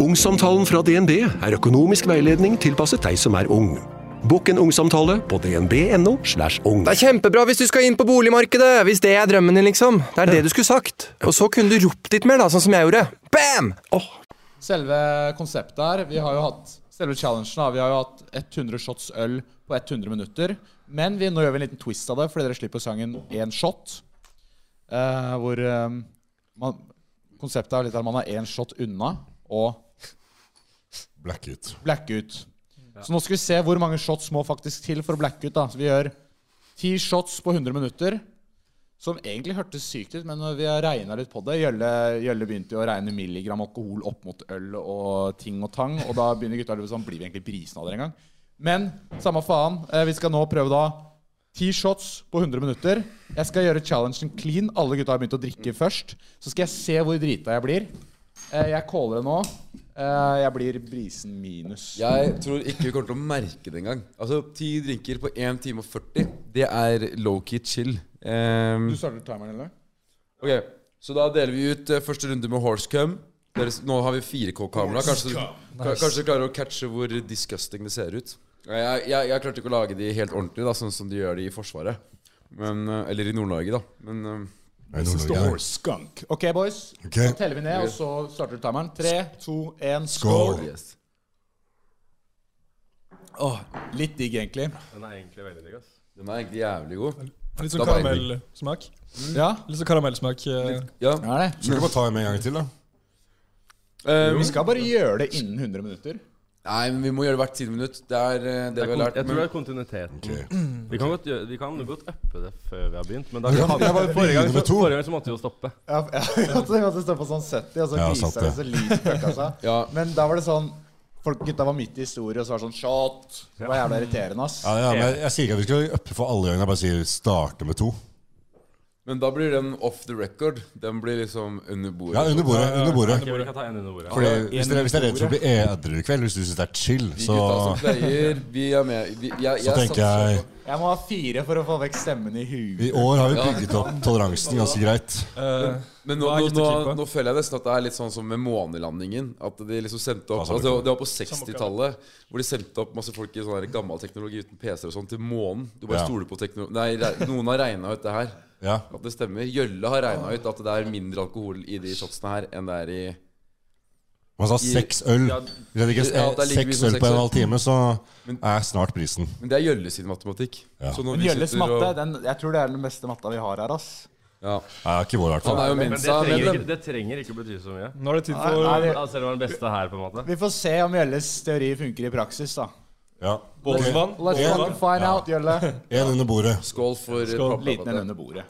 Ungsamtalen fra DNB er økonomisk veiledning tilpasset deg som er ung. Bokk en ungsamtale på dnb.no. slash ung. Det er kjempebra hvis du skal inn på boligmarkedet! Hvis det er drømmen din, liksom. Det er det du skulle sagt. Og så kunne du ropt litt mer, da, sånn som jeg gjorde. Bam! Selve konseptet her Vi har jo hatt Selve challengen da, Vi har jo hatt 100 shots øl på 100 minutter. Men vi, nå gjør vi en liten twist av det, fordi dere slipper sangen én shot. eh, hvor eh, man, konseptet er litt at man er én shot unna og Blackout. blacke ut. Så nå skal vi se hvor mange shots må faktisk til for å blacke ut. da. Så vi gjør ti shots på 100 minutter, som egentlig hørtes sykt ut, men når vi har regna litt på det Gjølle, Gjølle begynte jo å regne milligram alkohol opp mot øl og ting og tang, og da begynner gutta å lure på sånn Blir vi egentlig brisen av dere engang? Men samme faen. eh, Vi skal nå prøve da ti shots på 100 minutter. Jeg skal gjøre challengen clean. Alle gutta har begynt å drikke først. Så skal jeg se hvor drita jeg blir. Eh, Jeg caller det nå. Eh, Jeg blir brisen minus. Jeg tror ikke vi kommer til å merke det engang. Altså, ti drinker på 1 time og 40, det er low-key chill. Ehm, Du starter timeren, eller? ok, Så da deler vi ut eh, første runde med horsecum. Dere s- Nå har vi 4K-kamera. Kanskje, ka- kanskje du klarer å catche hvor disgusting det ser ut. Jeg, jeg, jeg klarte ikke å lage de helt ordentlig, da, sånn som de gjør de i Forsvaret. Men, eh, eller i Nord-Norge, da. Men eh, Er det This is the Nord-Norge her? horse skunk. Ok, boys. Ok. Da teller vi ned, og så starter timeren. Tre, to, én, skål. Skål. yes. Åh, litt digg, egentlig. Den er egentlig veldig digg. ass. Den er egentlig jævlig god. Litt sånn Da var jeg karamellsmak. Ja, Litt sånn karamellsmak. eh. Ja. det er det. Skal vi bare ta en med en gang til, da? Eh, Vi skal bare gjøre det innen 100 minutter. nei, men vi må gjøre det hvert tiende minutt. Det er eh, det, Det er vi har kon- lært. jeg tror men- det er kontinuiteten. Ok. Vi kan godt, gjøre, vi kan godt uppe det før vi har begynt, men da, kan- jeg bare forrige, gang, begynner så, med to. forrige gang så måtte vi jo stoppe. Ja, ja, ja, det måtte stå på sånn 70, og så Ja, sant grisa det så lyst fucka seg. Ja. Men da var det sånn Folk gutta var midt i historie, og så var det sånn Shot! Det var jævla irriterende, ass. Ja, ja, men jeg, jeg sier ikke at vi skal uppe for alle gangene. Jeg bare sier starte med to. Men da blir den off the record. Den blir liksom under bordet. Ja, under bordet. Under bordet. Ok, vi kan ta en under bordet. Fordi hvis dere, hvis dere er redd for å bli edru i kveld, hvis du syns det er chill, De så, gutta som pleier, vi er med. Vi, jeg, så tenker satser jeg på- Jeg må ha fire for å få vekk stemmen i huet. I år har vi bygget opp toleransen ganske greit. Eh, Men nå, Hva er nå, litt å nå, klippe? nå føler jeg nesten at det er litt sånn som med månelandingen. At de liksom sendte opp Hva sa du? altså, Det var på 60-tallet hvor de sendte opp masse folk i sånn her gammel teknologi uten PC-er og sånn til månen. Du bare Ja. stoler på teknologi Nei, re- noen har regna ut det her. Ja. At det stemmer. Gjølle har regna ut at det er mindre alkohol i de shotsene her enn det er i Man sa seks øl. Hvis jeg drikker Ja, det er like mye seks som øl seks på øl. en og en halv time, så er snart prisen. Men det er Gjølle sin matematikk. Ja. Så når Men vi Gjølles sitter matte, og- den, jeg tror det er den beste matta vi har her, ass. ja. Nei, ikke vår, i hvert Han fall. er jo Men det Mensa trenger, medlem. ikke, det trenger ikke bety så mye. nå er det tid Nei, nei, for det- Ja, Selv om det er den beste her, på en måte. Vi får se om Gjølles teori funker i praksis, da. Ja. bollesvann. Let's Ja. fucking find Ja. out, Gjølle. Én under bordet. Skål for Skål. Liten en under bordet.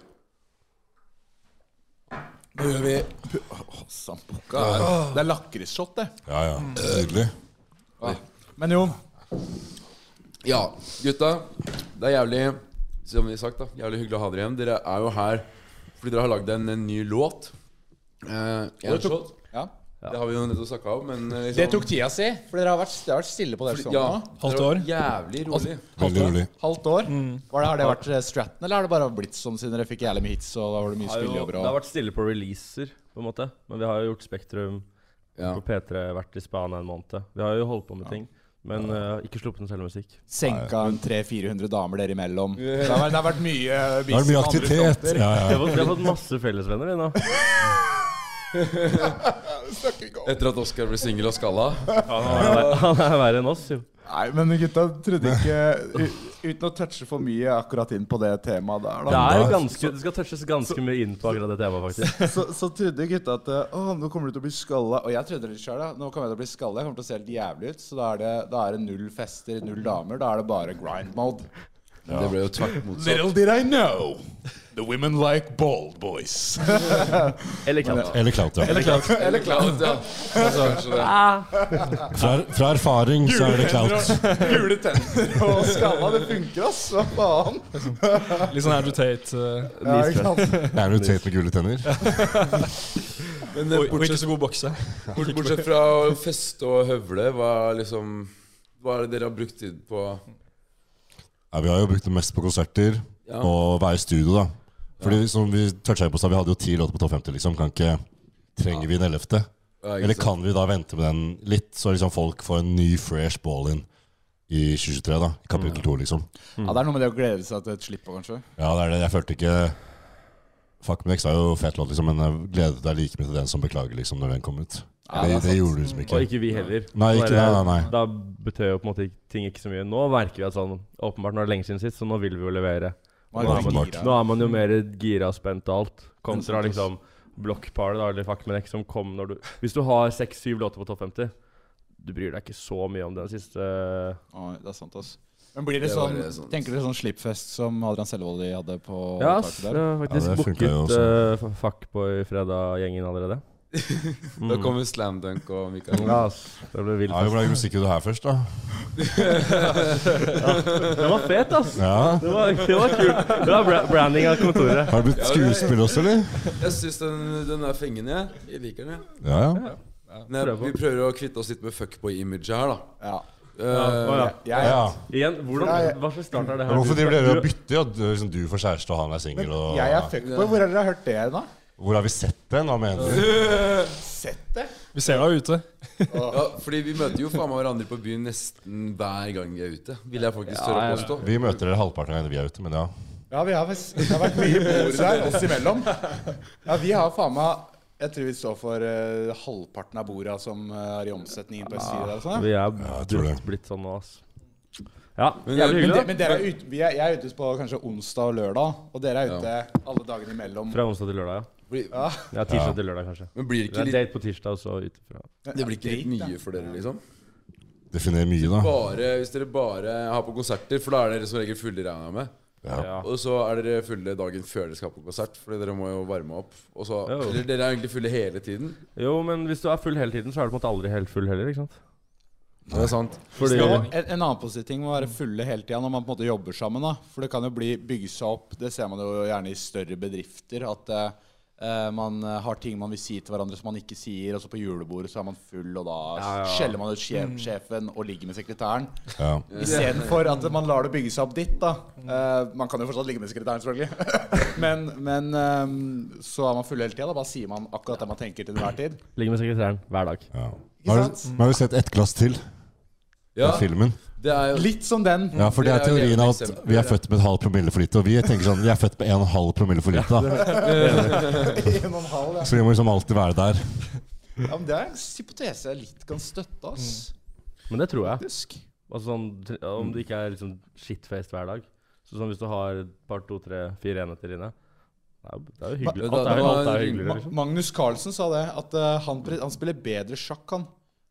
Nå gjør vi Åh, Sambuca. Det er lakrisshot, det. Ja, ja. Mm. Nydelig. Men jo, Ja, gutta. Det er jævlig Som vi har sagt da Jævlig hyggelig å ha dere igjen. Dere er jo her fordi dere har lagd en, en ny låt. Eh, en shot. ja. Det har vi jo nettopp snakka om, men eh, liksom, det tok sånn, tida si. For dere har vært, det har vært stille på det showet ja, nå. Halvt dere var år. Jævlig rolig. Altså- Veldig rolig. Halvt år. Var det, har det vært eh, Stratton, eller har det bare blitt sånn siden dere fikk jævlig med hits? Og da var det mye har jo, spillejobber det har og vært stille på releaser, på en måte. Men vi har jo gjort Spektrum Ja. på P3, vært i Spania en måned. Vi har jo holdt på med ting. Men eh, ikke sluppet noe selvmusikk. senka en 300-400 damer dere imellom? Det har vært, det har vært mye eh, Da er det mye business på andre aktivitet. fronter. Ja, Vi ja. har fått, vi har fått masse fellesvenner, vi nå. Etter at Oskar ble singel og skalla. Han er, han er verre enn oss, jo. Nei, men gutta trodde ikke u- Uten å touche for mye akkurat inn på det temaet der, da. Det er ganske, det skal touches ganske mye inn på akkurat det temaet, faktisk. så, så trodde gutta at eh, Åh, nå kommer du til å bli skalla. Og jeg trodde det sjøl. Nå kommer jeg til å bli skalla. Jeg kommer til å se helt jævlig ut. Så da er det, da er det null fester, null damer. Da er det bare grind mode. Det ble jo tvert motsatt. Little did I know. The women like bald boys. Eller katt. Eller Clout, ja. Eller Cloud, ja. Altså, Kanskje det. Fra, fra erfaring så er det Clout. Gule tenner og skalla. Det funker, ass. Hva faen? Litt sånn Andrew Tate. eh, Ja, ikke sant? Det er jo Tate med gule tenner. Men eh, og og ikke bortsett, så god bokse. bort- bortsett fra å feste og høvle, hva er liksom Hva er det dere har brukt tid på? Ja, vi har jo brukt det mest på konserter Ja. og være i studio, da. Fordi som vi toucha på, så vi hadde jo ti låter på topp 50, liksom. Kan ikke Trenger vi en ellevte? Ja, ikke Eller sant? kan vi da vente med den litt, så liksom folk får en ny fresh ball in i 2023, da? I kapittel to, liksom. Ja, Det er noe med det å glede seg til et slipp òg, kanskje. Ja, det er det. Jeg følte ikke Fuck Mex er jo fet låt, liksom, men jeg gledet deg like mye til den som beklager, liksom, når den kom ut. Ja, det, det er det, gjorde du liksom ikke. Og ikke vi heller. Nei, ikke Bare- det, nei, nei. Da betød jo på en måte ikke- ting ikke så mye. Nå merker vi at sånn Åpenbart nå er det lenge siden sist, så nå vil vi jo levere. Man Ja, er men- veldig gira. Nå er man jo mer gira og spent og alt. Kontra liksom Block Party, da, eller Fuck Menek, som kom når du Hvis du har seks-syv låter på topp 50, du bryr deg ikke så mye om den siste Oi, det er sant, ass. Men blir det, Det var sånn, det sant. tenker dere sånn slippfest som Adrian Selvold de hadde på Ja, ass, taket jeg der? har Ja, faktisk det funker jo booket eh, f- Fuckboy-fredag-gjengen allerede. Mm. Da kommer Slam Dunk og Mikael. Ja, ass. Det ble vilt. Ja, Hvor lenge musikker du her først, da? Den var fet, ass! Ja. Det var, det var kult. Det var bra branding av kontoret. Har du blitt skuespiller også, eller? Jeg syns den, den er fengende. jeg. Jeg liker den, jeg. Ja, ja. Men jeg, prøv på. vi prøver å kvitte oss litt med fuckboy-imaget her, da. Ja. Eh, Å, ja. ja, ja. Igjen, hvordan, hva slags start er det her? Men hvorfor driver dere og Du- bytter? Ja, du, liksom, du får kjæreste, og han er singel, og Jeg er fuckboy. Hvor har dere hørt det, da? Hvor har vi sett den? Hva mener du? Sett det? Vi ser deg ute. ja, fordi vi møter jo faen meg hverandre på byen nesten hver gang vi er ute. Vil jeg faktisk tørre å påstå. Vi møter dere halvparten av gangene vi er ute, men ja. Ja, vi har, faktisk- det har vært mye bordet her oss imellom. Ja, vi har faen meg Jeg tror vi står for eh, halvparten av borda som eh, er i omsetningen på SI. der og sånn, ja. Vi er jeg tror blitt, det. blitt sånn nå, ass. Ja, Men- jævlig Men, hyggelig. de, da. men dere er ute, vi er, jeg er ute på kanskje onsdag og lørdag, og dere er ute alle dagene imellom. Fra onsdag til lørdag, ja. Blir- Ja, Tirsdag til lørdag, kanskje. Men blir det Det ikke er litt, date på tirsdag, og så ut fra det blir ikke litt Date, da. mye for dere, liksom? Definer mye, da. Bare hvis dere bare har på konserter, for da er dere som regel fulle, regner jeg med. Ja. Og så er dere fulle dagen før dere skal på konsert, Fordi dere må jo varme opp. Og så, Jo. eller dere er egentlig fulle hele tiden. Jo, men hvis du er full hele tiden, så er du på en måte aldri helt full heller, ikke sant? Det er sant. Fordi Ja, en, en annen positiv ting må være fulle hele tida når man på en måte jobber sammen. da For det kan jo bli bygge seg opp. Det ser man jo gjerne i større bedrifter. At eh, eh, man eh, har ting man vil si til hverandre som man ikke sier. Og så på julebordet så er man full, og da skjeller man ut sjef, sjefen og ligger med sekretæren. Mm. Ja. Istedenfor at man lar det bygge seg opp dit. da Eh, Man kan jo fortsatt ligge med sekretæren, selvfølgelig. men men eh, så er man full hele tida. Da bare sier man akkurat det man tenker til enhver tid. Ligger med sekretæren hver dag. ja. Nå har du, nå har du sett ett glass til Ja, av filmen. det er jo Litt som den. Ja, for det er Det er jo teorien levende at eksempler, vi er ja. født med et halv promille for lite, og vi tenker sånn Vi er født med en halv promille for lite, da. En og en halv, ja. Så vi må liksom alltid være der. Ja, men Det er en hypotese jeg litt kan støtte. ass Mm. Men det tror jeg. Faktisk. Altså, sånn, tr- om det ikke er liksom shitfaced hver dag. Så sånn hvis du har et par, to, tre, fire enheter inne det er jo- Det er jo hyggelig. Da- Alt er, da- alt er hyggeligere, liksom. Magnus Carlsen sa det, at eh, han, pre- han spiller bedre sjakk, han.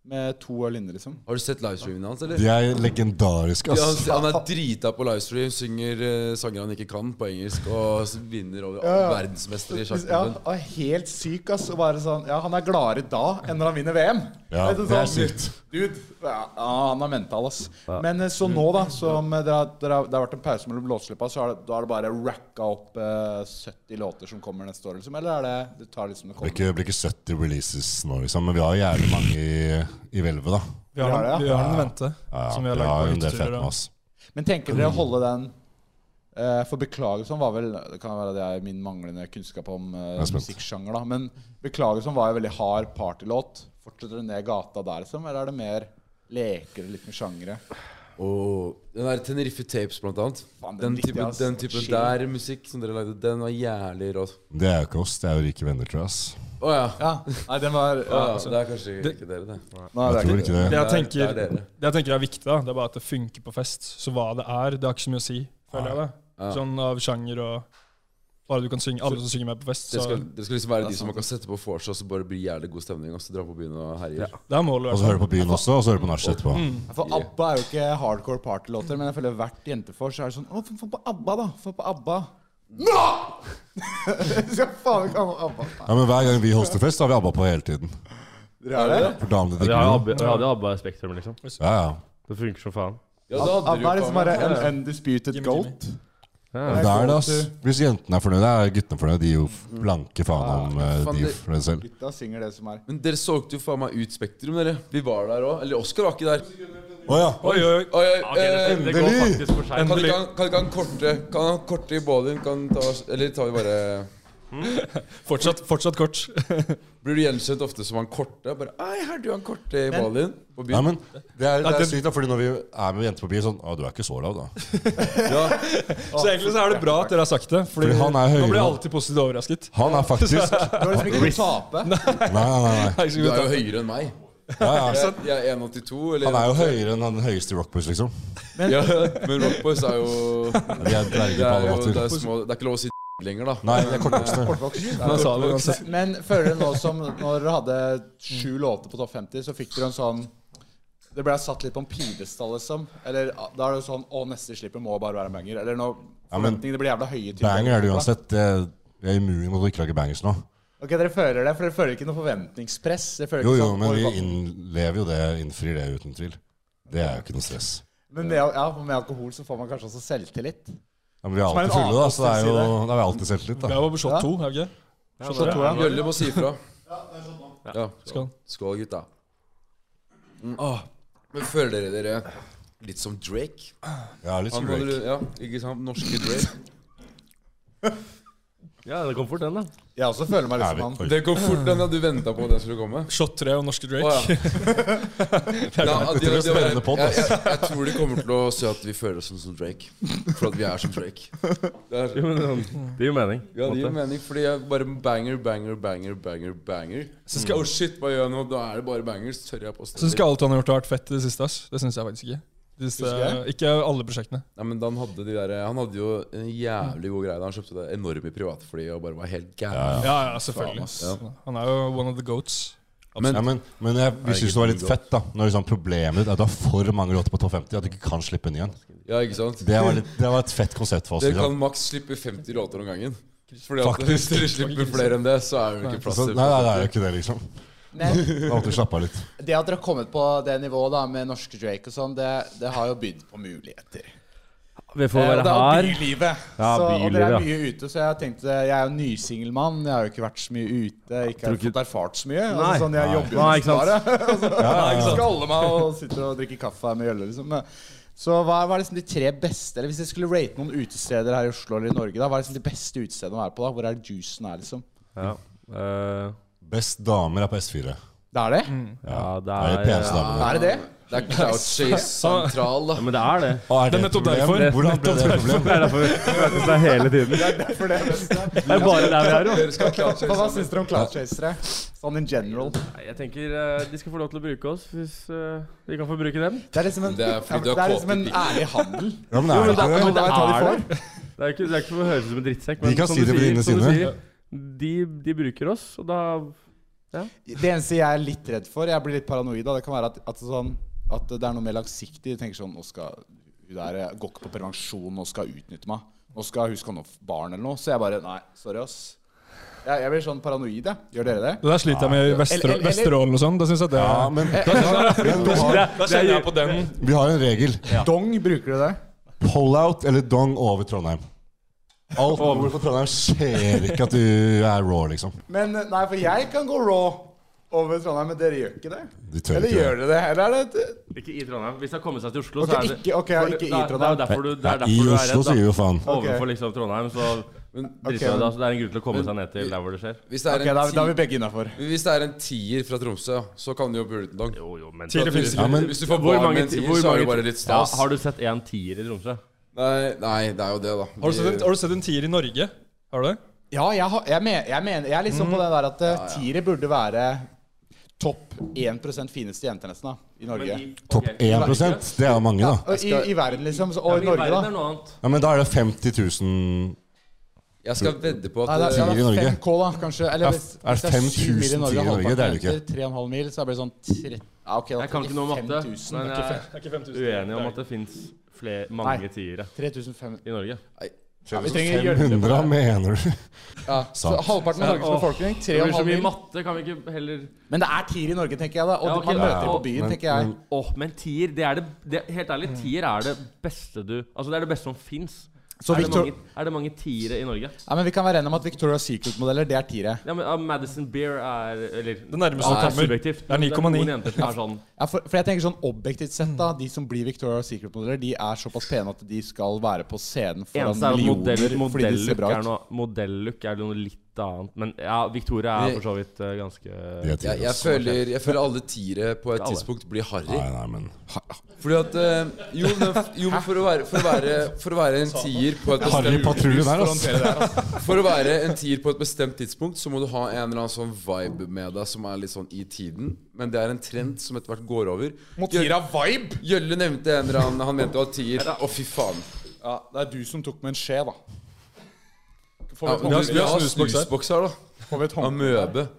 Med to øl inne, liksom. Har du sett livestreamen hans, eller? De er legendariske, Ja, han, ass. han er drita på livestream, synger eh, sanger han ikke kan på engelsk, og s- vinner over Ja, ja. verdensmester i liksom? Ja, sjakkklubben. og helt syk, ass. Og bare sånn Ja, han er gladere da enn når han vinner VM. Ja, Vet du, det er sånn, sykt. Dude, ja, han er mental, ass. Men eh, så nå, da, som eh, dere, har- dere, har- det har vært en pause mellom låtslippa, så er det, da er det bare racka opp eh, 70 låter som kommer neste år, liksom? Eller er det Du tar liksom det Det blir kommer? ikke, blir ikke 70 releases nå, liksom, men vi har jævlig mange i, i hvelvet, da. Vi har, Vi har det, ja. den- vi har den i vente. Ja, ja. Som vi vi har har lagd en på del fett hytteturer. med og- oss. Men tenker dere å holde den eh, For beklagelsen var vel Det kan være det er min manglende kunnskap om eh, er spent. musikksjanger, da. Men beklagelsen var jo veldig hard partylåt. Fortsetter du ned gata der, liksom? Eller er det mer leker og litt med sjangere? Og den der Tenerife Tapes, blant annet. Faen, den den, likte jeg, type, ass. den type Chill. der musikk som dere lagde, den var jævlig rå. Det er jo ikke oss, det er jo rike venner, tror jeg. ass. Å ja. Ja. Nei, den var Å, ja, altså, ja. Det er kanskje Det- ikke dere, det. nei, det Jeg er tror ikke- ikke det. Det Det jeg er- tenker det er dere. det jeg tenker er viktig, da, det er bare at det funker på fest. Så hva det er, det har ikke så mye å si, føler jeg det. Ja. Sånn av sjanger og Bare du kan synge, alle som synger med på fest. Dere Så skal, dere skal liksom være Det er de som sant. man kan sette på vors og så bare bli jævlig god stemning, og så dra på byen og herje. det er Og målet. i hvert så fall. hører du på byen også, og så hører du på nachspiel etterpå. Mm. For ABBA er jo ikke hardcore partylåter, men jeg føler hvert jentefors er det sånn Å, få- få på ABBA, da! Få på ABBA. Nå! Skal faen ikke ha noe ABBA. Ja, men Hver gang vi hoster fest, har vi ABBA på hele tiden. Dere er det? For damene Vi digger har jo det. ABBA- vi hadde jo ABBA Spektrum, liksom. Ja, ja. Det funker som faen. Ja, da hadde ABBA er dere jo liksom faen bare meg- en undisputed Jimmy, goat. Men Ja. Det er det, ass. Hvis jentene er fornøyde, er guttene fornøyde. De er jo blanke faen om eh, Faen, de det- for det selv. Gutta synger det som er. Men dere solgte jo faen meg ut Spektrum, dere. Vi var der òg. Eller Oskar var ikke der. Å ja! Oi, oi, oi. Oi, oi, Ok, eh, det, det går faktisk for seg. Kan ikke han, kan ikke han korte Kan han korte i bålen? Kan ta, eller tar vi bare Fortsatt, fortsatt kort. Blir du gjenkjent ofte som han korte? Bare, Ei, her du han korte i ballen din. På Nei, byen. men det er, det Nei, er det- sykt, da, fordi når vi er med jenter på byen, sånn Å, du er ikke så lav, da. Så egentlig så er det bra at dere har sagt det. Fordi, Fordi han er høyere. Nå blir jeg alltid positivt overrasket. Han er faktisk Du har liksom ikke noe å tape. Nei, nei, nei. nei. Jeg Du skal er ta- jo høyere enn meg. Ja, ja. Jeg, jeg er 1,82 eller Han er jo høyere enn den høyeste i Rockboys, liksom. ja, Men Rock Boys er jo Vi er dverger Det på er, alle jo, det, er måter. små, det er ikke lov å si lenger, da. Nei, vi er kortvokste. Han sa det uansett. Men føler dere nå som når dere hadde sju Mm. låter på topp 50, så fikk dere en sånn Det ble satt litt på en pidestall, liksom. Eller ah, da er det jo sånn Å, neste slippet må bare være en banger. Eller nå Ja, men- Forventningene blir jævla høye. typ. Banger er det uansett. Det- Vi er immune mot å ikke lage bangers nå. Ok, Dere føler det, for dere føler ikke noe forventningspress. Dere føler Jo, ikke jo, sånn, men «Oi, vi hva- innlever jo det, innfrir det uten tvil. Det er jo ikke noe stress. Men med, ja, med alkohol så får man kanskje også selvtillit. Ja, men vi er Som er en alltid fulle, da, annen så det er jo side. da er vi alltid selvtillit, Vi da. er jo på shot Ja. to, er vi ikke? Så tror jeg- Jølle må si ifra. Ja, Skål. skål. Skål, gutta. Mm. Men føler dere dere litt som Drake? Ja, litt sånn Han som holder, Drake. ja, ikke sant? Norske Drake. Ja, det kom fort, den, da. Jeg også føler meg liksom sånn. litt som han. Er vi, oi. Det går fort, den. ja, Du venta på at den skulle komme? Shot tre og norske Drake. Å, ja. Ja, de- Det blir de- spennende podd, jeg, ass. jeg, jeg tror de kommer til å se at vi føler oss sånn som Drake. For at vi er som Drake. Det er, Jo, men sånn, Det gir jo mening. på ja, en det gir måte. mening, fordi jeg bare banger, banger, banger, banger. banger Så skal jeg, oh shit, hva gjør jeg nå? Da er det bare bangers. Tør jeg påstå Syns ikke alt han har gjort har vært fett i det siste. ass Det syns jeg faktisk ikke. Det siste, Husker ikke alle prosjektene. Nei, men han hadde, de der, han hadde jo en jævlig god greie da han kjøpte det enorme privatfly og bare var helt gæren. Ja, ja, selvfølgelig. Han er jo one of the goats. Men Ja, men, men jeg, vi syns det var litt fett, da. Når liksom problemet ditt er at du har for mange låter på topp 50 at du ikke kan slippe en ny en. ja, ikke sant? Det var, litt, det var et fett konsept for oss. Dere Liksom. kan maks slippe 50 låter om gangen. Fordi at hvis Faktisk. dere slipper flere enn det, så er det ikke plass Så, til nei, nei, det er jo ikke det, liksom. Men Jeg måtte slappe av litt. det at dere har kommet på det nivået da med norske Drake og sånn, det, det har jo bydd på muligheter. Vi får Eh, og være det er her. jo bylivet. så, Ja, og dere er bylivet, ja. mye ute, så jeg tenkte Jeg er jo nysingelmann. Jeg har jo ikke vært så mye ute. Ikke Tror har ikke- fått erfart så mye. Altså, Nei. sånn, jeg jobber jo Nei, nesten ikke sant. bare. Jeg skal holde meg og sitter og drikker kaffe her med Jølle, liksom. Så hva var liksom de tre beste Eller Hvis dere skulle rate noen utesteder her i Oslo eller i Norge, da, hva er liksom de beste utestedene å være på? da? Hvor er det juicen er, liksom? Ja. Eh, Best damer er på S4. Det er det? ja, det Det er de er peneste damene. Er det det? Mm. Det er Cloud Chase sentral, da. Ja, Men det er det. Og er Det er det et nettopp problem? derfor. Hvordan ble det et problem? Det er derfor vi møtes der hele tiden. Det For det er best, ja. er bare der vi er, jo. Dere skal ha Cloud Hva, Chase. hva syns dere om Cloud Chasere? Sånn in general. Nei, Jeg tenker eh, de skal få lov til å bruke oss, hvis eh, vi kan få bruke dem. Det er liksom en, Det er fordi du det har er liksom en kåte ærlig handel. Ja, men er det ikke det? men det er det de får. Det er ikke, det er ikke for å høres ut som en drittsekk, De kan som si du det på sier- dine som du sine. sier, De, de bruker oss, og da Det eneste jeg er litt redd for, jeg blir litt paranoid av, det kan være at, at, sånn, at det er noe mer langsiktig. Jeg tenker sånn Nå skal hun der eh, gå ikke på prevensjon, nå skal hun utnytte meg. Nå skal hun skal nå få barn eller noe. Så jeg bare Nei, sorry, ass. Jeg, jeg blir sånn paranoid, jeg. Gjør dere det? Det der sliter jeg med i Eller- Vesterålen eller- Vesterålen og sånn. Da syns jeg det Ja, men, men du har, Da kjenner jeg på den. vi har en regel. Dong, bruker du det? Pull-out eller dong over Trondheim. Alt over for Trondheim skjer ikke at du er raw, liksom. Men eh, nei, for jeg kan gå raw over Trondheim, men dere gjør ikke det. Du tør Eller ikke gjør det. dere det? Eller er det et- Ikke i Trondheim. Hvis de har kommet seg til Oslo, Ok, så er det ikke- ok, ja, for- ikke i det er- Trondheim. Det er derfor du, det Nei, er I derfor du er Oslo redd. sier Da. jo faen. Overfor liksom Trondheim, så driter jeg i det. altså, Det er en grunn til å komme seg ned til der hvor det skjer. Hvis det Ok, er da, en da er ti- vi begge innafor. hvis det er en tier fra Tromsø, så kan du jo burde den dong. Jo, jo, men Tidligere finnes Ja, ikke. men Hvis du får barn med en tier, så er det bare litt stas. Ja, har du sett én tier i Tromsø? Nei, nei, det er jo det, da. Har du sett en, har du sett en tier i Norge? Har du det? Ja, jeg, har, jeg, men, jeg mener Jeg er liksom på den der at ja, tiere burde være topp 1 fineste jenter nesten da i Norge. Topp 1 Det er jo mange, da. Og i, I verden, liksom. så- Og i Norge, da. noe annet. Ja, men da er det 50 000 Jeg skal vedde på Nei, at det er, Tiere i det er Norge. 5K, da, kanskje. Ja, Eller hvis, er hvis det det er 7 mil 5000 i tiere Norge, i Norge? Det er halvparten det ikke. etter 3,5 mil, så er det bare sånn 30 ja, ok, da Jeg kan ikke noe om matte, 5000, men ikke jeg fe- Det er ikke 5000. er uenig om at det fins Nei. mange tiere 3500 i Norge. ja, Vi trenger hjelp. 500, mener du? Ja, så Sant. halvparten av Norges Åh, befolkning. Det blir så 3,5 mye mil. matte, kan vi ikke heller Men det er tiere i Norge, tenker jeg. da Og Ja, ok, man møter ja, dem på ja. byen, Men- tenker jeg. men- Åh, men tier, det er det, det Helt Mm. ærlig, tier er det beste du Altså, det er det beste som fins. Så Er, det Victor, mange- er det mange tiere i Norge? ja, men vi kan være enige om at Victoria's Secret-modeller, det er tiere. Ja, men ja, Madison Beer er Eller Det det er nærmeste du kommer. subjektivt. Det er 9,9. noen jenter som er sånn Ja, for, for jeg tenker sånn objektivt sett da De som blir Victoria's Secret-modeller, de er såpass pene at de skal være på scenen foran Eneste er at millioner modell, fordi de ser modellook bra er ut. noe Modellook er noe litt annet. Men ja, Victoria er Vi- for så vidt eh, ganske De er tidligere, Jeg, jeg, ass. føler, jeg føler alle tiere på et Ikke alle. tidspunkt blir harry. altså. Nei, nei, men Fordi at eh, Jo, men, jo, men for, å være, for, å være, for å være en tier på et bestemt, Harry Patrulje der, ass. For å være en tier på et bestemt tidspunkt Så må du ha en eller annen sånn vibe med deg Som er litt sånn i tiden Men det er en trend som etter hvert går over Gjølle, Motira vibe! Gjølle nevnte en eller annen Han mente var tier Å fy faen Ja, det er du som tok med en skje, da. ja, Får men vi du, et Vi håndkle? har snusboks her da Får vi et håndkle? Amøbe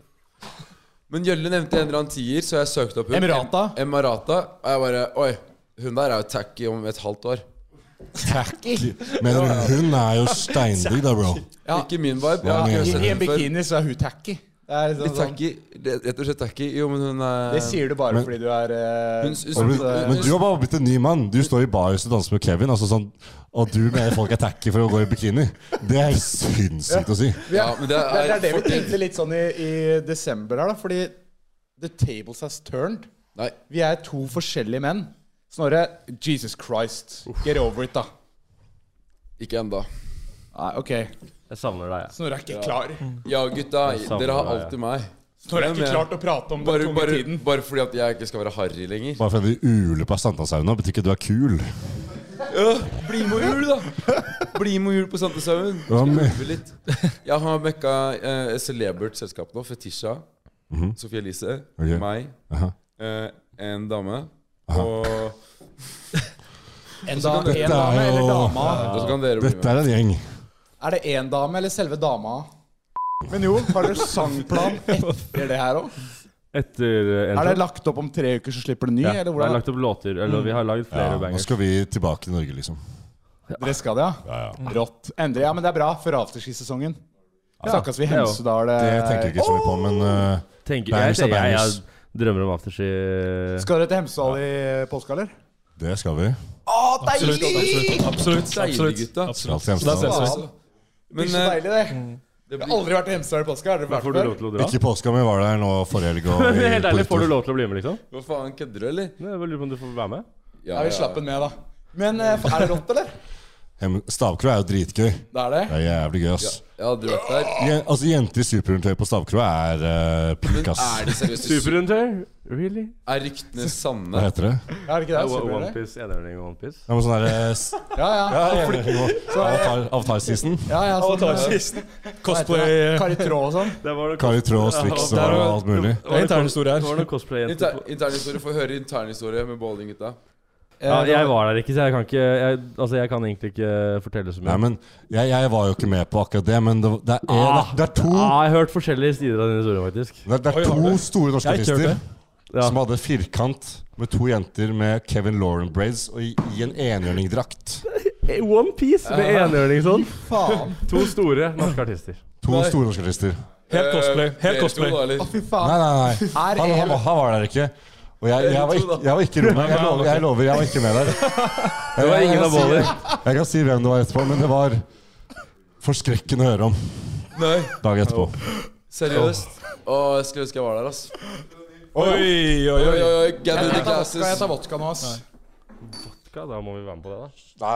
Men Gjølle nevnte en eller annen tier Så jeg søkte opp hun Emirata. Em- Emirata Og jeg bare Oi, hun der er jo tacky om et halvt år Men hun er jo steindigg, da, bro. Ikke min vibe. Ja, jeg har men- ikke I sett en den før. bikini så er hun tacky. Det er sånn, Litt tacky. Re- Rett og slett tacky. Jo, men hun er Det sier du bare Men- fordi du er eh, Hun- hun- Har du- hun- Men du har bare blitt en ny mann. Du står i barhus og danser med Kevin. Altså sånn, og du mener folk er tacky for å gå i bikini. Det er helt sinnssykt å si. Ja, men det Det, det er er det vi fucking- tenkte litt sånn i, i desember her, da. Fordi the tables has turned. Nei. Vi er to forskjellige menn. Snorre, Jesus Christ. Get over it, da. Ikke ennå. Nei, ok. Jeg savner deg, jeg. Snorre er ikke klar. Ja, gutta. Jeg savner Dere har deg, alltid meg. Snorre er Men- eh, ikke klar til å prate om den Bare, tunge bare, tiden. bare fordi at jeg ikke skal være harry lenger. Bare fordi du uler på Sankthanshaugen, betyr ikke at du er kul. Bli med og jul, da! Bli med og jul på Santeshaugen. Hva med- Skal øve litt. Jeg har mekka eh, et celebert selskap nå. Fetisha. Sophie Elise. Mhm. Ok. Meg. Aha. eh, en dame. Og, En da- Dette en dame er jo- eller dama? og så kan dere bli Dette med. er en gjeng. Er det én dame eller selve dama? Men jo, har dere sangplan etter det her òg? Etter eh, en Er det til. lagt opp om tre uker, så slipper det ny? Ja, Eller Vi har hvordan? Mm. lagt opp låter. Eller vi har lagd flere Ja, nå bangers. skal vi tilbake til Norge, liksom. Dere skal det, ja? Mm. Rått. Endelig. Ja, men det er bra for afterski-sesongen. Snakkes vi i det er jo- Hemsedal Det eh, tenker jeg ikke så mye på, men eh, Tenker, jeg, Bangers er tenker, jeg, bangers. jeg drømmer om afterski. Skal dere til Hemsedal i påska, eller? det skal vi. Absolutt. Absolutt. absolutt, Deilig, absolutt. gutta. Skal til absolutt. Da ses Hemsedal. vi. Faen, Det Men blir så eh, deilig, det. Jeg det har blir aldri vært i Hemsedal i påska. Har dere Får vært du der? lov til å dra? Ikke i påska, men vi var der nå forrige helg. og vi- Helt på ærlig, får du hyttetur. lov til å bli med, liksom? Hva faen, kødder du, eller? Nei, Jeg lurer på om du får være med? Ja, Ja, vi slapp den med, da. Men eh, er det rått, eller? Hem- Stavkroa er jo dritgøy. Det er det. Det er jævlig gøy, ass. Jeg har aldri vært der. Je- Altså, Jenter i superundertøy på Stavkroa er Men uh, peak, ass. er det seriøst Superhunter? Really? Er ryktene Hva sanne? heter det? Er det ikke det? Super, eller? Onepiece, enhjørning og Onepiece. Det er sånn der, eh, s- Ja, ja. Avatar- Avatar-season. ja, ja sånn, eh, Cosplay Kari Traa og sånn. Det var noe Kari Traa og Strix og Der var- alt mulig. Det er intern historie Det var her. noe cosplay-jenter Inter internhistorie. Få høre internhistorie med bowlinggutta. ja, Eh, Jeg var der ikke, så jeg kan ikke jeg, Altså, jeg kan egentlig ikke fortelle så mye. Nei, men jeg, jeg var jo ikke med på akkurat det, men det, det, er, Ah, det, er to, Ja, jeg har hørt forskjellige sider av din historie, faktisk. det, er, det Oi, er har du to det? store norske Jeg har ikke hørt artister Ja. som hadde firkant med to jenter med Kevin Lauren braids og i, i en enhjørningdrakt. Onepiece Eh, med enhjørning sånn. Faen. To store norske artister. To store norske artister. Helt cosplay. Eh, Helt dere cosplay. to, da, eller? Fy Nei, faen. nei, nei. Er Han, han, Even- han var der ikke. Og jeg, jeg, var, ikke, jeg var ikke med. Jeg lover, jeg lover, jeg var ikke med der. Det var ingen av Båler. Jeg kan si hvem det var etterpå, men det var forskrekkende å høre om Nei, dagen etterpå. seriøst? Å, jeg skulle ønske jeg var der, ass. Oi, oi, Oi, oi. oi, oi, gather Jeg the tar vodka, jeg glasses. tar vodka nå, ass. Ja, Da må vi være med på det, da.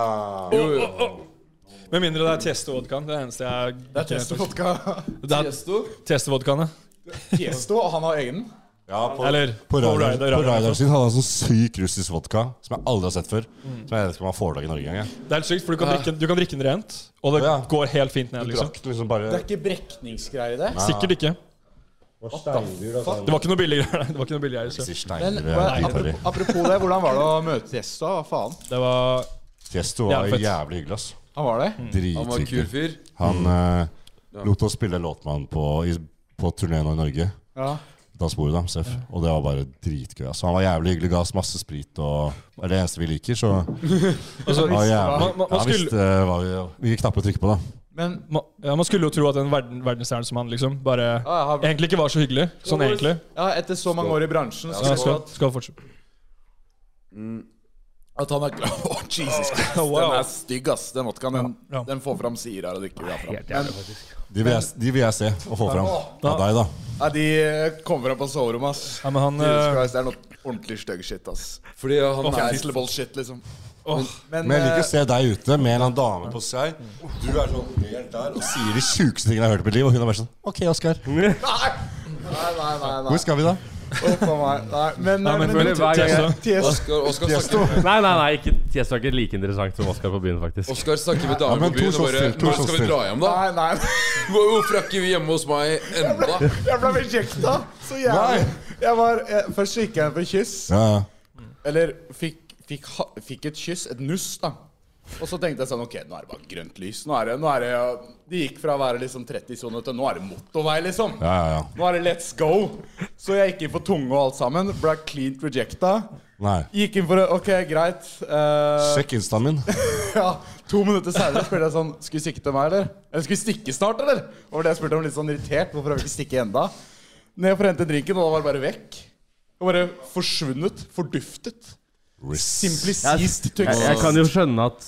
Jo, jo. Med mindre det er Tiesto-vodkaen. Det er det eneste jeg Det er Tiesto vodka. Det er Tiesto? Tiesto-vodkaen, ja. Tiesto, og han har egen. Eller På Ryder- Ryder- på Ryder- Ryder sin hadde han sånn syk russisk vodka som jeg aldri har sett før. Som jeg vet ikke om han får tak i Norge engang. jeg. Det er helt sykt, for du kan, drikke, du kan drikke den rent, og det Ja. går helt fint ned. liksom Drakk den liksom bare Det er ikke brekningsgreier i det. Sikkert ikke. Det var ikke noe billig greier. nei. Det var ikke noe billig greier så. Men Sier Steiner, hva- jeg er apropos, dritharry. apropos det, hvordan var det å møte Tiesto? Hva faen? Det var Tiesto var Jævlig fett. jævlig hyggelig, ass. Han var Mm. det? Mm. Han var en kul Mm. Drithyggelig. fyr. Han eh, lot oss spille en låt med han på, i, på turneen i Norge. Ja. Da sporet han, Seff. Og det var bare dritgøy. ass. Han var jævlig hyggelig, ga oss masse sprit, og det er det eneste vi liker, så altså, han var jævlig. man, man, man, Han skulle, visste hva vi, hvilke knapper å trykke på, da. Men man, ja, man skulle jo tro at en verden, verdensstjerne som han liksom ja, bare jeg har- egentlig ikke var så hyggelig. Sånn egentlig. ja, etter så mange år i bransjen så Ja, skal, skal fortsette. At han er klar Å, Jesus Christ. Den er stygg, ass. Den vodkaen. Den, den får fram sider her og drikker vi herfra. Men, De vil, jeg, de vil jeg se og få fram. Ja, deg, da. ja, de eh, kommer fram på soverommet, ass. Ja, men han Jesus eh, Christ, det er noe ordentlig stygg shit, ass. Fordi han er Cancelable shit, liksom. Men, Men jeg eh, liker å se deg ute med en eller annen dame på seg. Du er sånn helt der og sier de sjukeste tingene jeg har hørt i mitt liv, og hun er bare sånn OK, Oskar. Nei, nei, nei. nei. Hvor skal vi da? Opp av meg. Nei, men, Nei, men men, jeg føler hver gang jeg- Tiesto Oskar, Oskar, snakker, Nei, nei, nei, ikke, jeg er ikke like interessant som Oskar på byen, faktisk. Oskar snakker med Ja, damer men på byen to og bare shots til, to Når skal shots vi til. dra hjem, da? Nei, nei. Hvor- Hvorfor er ikke vi hjemme hos meg enda? Jeg ble rejecta så jævlig. Jeg var, jeg, først så gikk jeg inn for kyss. Ja, ja. Eller fikk, fikk, ha- fikk et kyss, et nuss, da. Og så tenkte jeg sånn Ok, nå er det bare grønt lys. Nå er det, nå er det De gikk fra å være liksom 30-sone til nå er det motorvei, liksom. ja, ja, ja. Nå er det let's go. Så jeg gikk inn for tunge og alt sammen. Ble cleant rejecta. Nei. Gikk inn for det. Ok, greit. Eh, Sjekk instaen min. ja, to minutter senere spurte jeg sånn Skal vi stikke til meg, eller? Eller skal vi stikke snart, eller? Og det jeg spurte om litt sånn irritert. Hvorfor har vi ikke stikket enda? Ned for å hente drinken, og da var det bare vekk. Og bare forsvunnet. Forduftet. Simply ceased to Jeg, jeg exist. kan jo skjønne at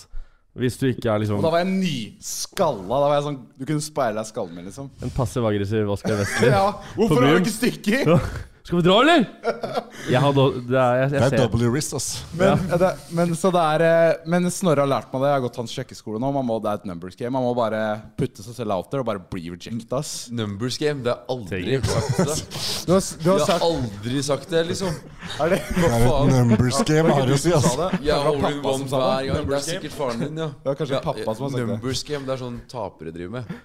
hvis du ikke er liksom Og da var jeg nyskalla. Da var jeg sånn Du kunne speile deg i skallen min, liksom. en passiv-aggressiv Oskar Vestli Ja, På hvorfor har byen. du ikke stikket? Ja. Skal vi dra, eller? Jeg hadde det er, jeg, Det jeg er ser. double risk, ass. Men, det, men, så det er, eh, men Snorre har lært meg det. Jeg har gått hans sjekkeskole nå. Man må, det er et numbers game. Man må bare putte seg selv out there og bare bli rejecta, ass. Numbers game, det har jeg aldri sagt det. Du har, du har Jeg har sagt aldri sagt det, liksom. Er det Det er et numbers game, har jeg å si, ass. sa det? Jeg har Kanskje det var hole in pappa som one sa hver det? gang. Det er Numbers game? sikkert faren din, ja. Det var kanskje pappa som har sagt det. Numbers game, det er sånn tapere driver med.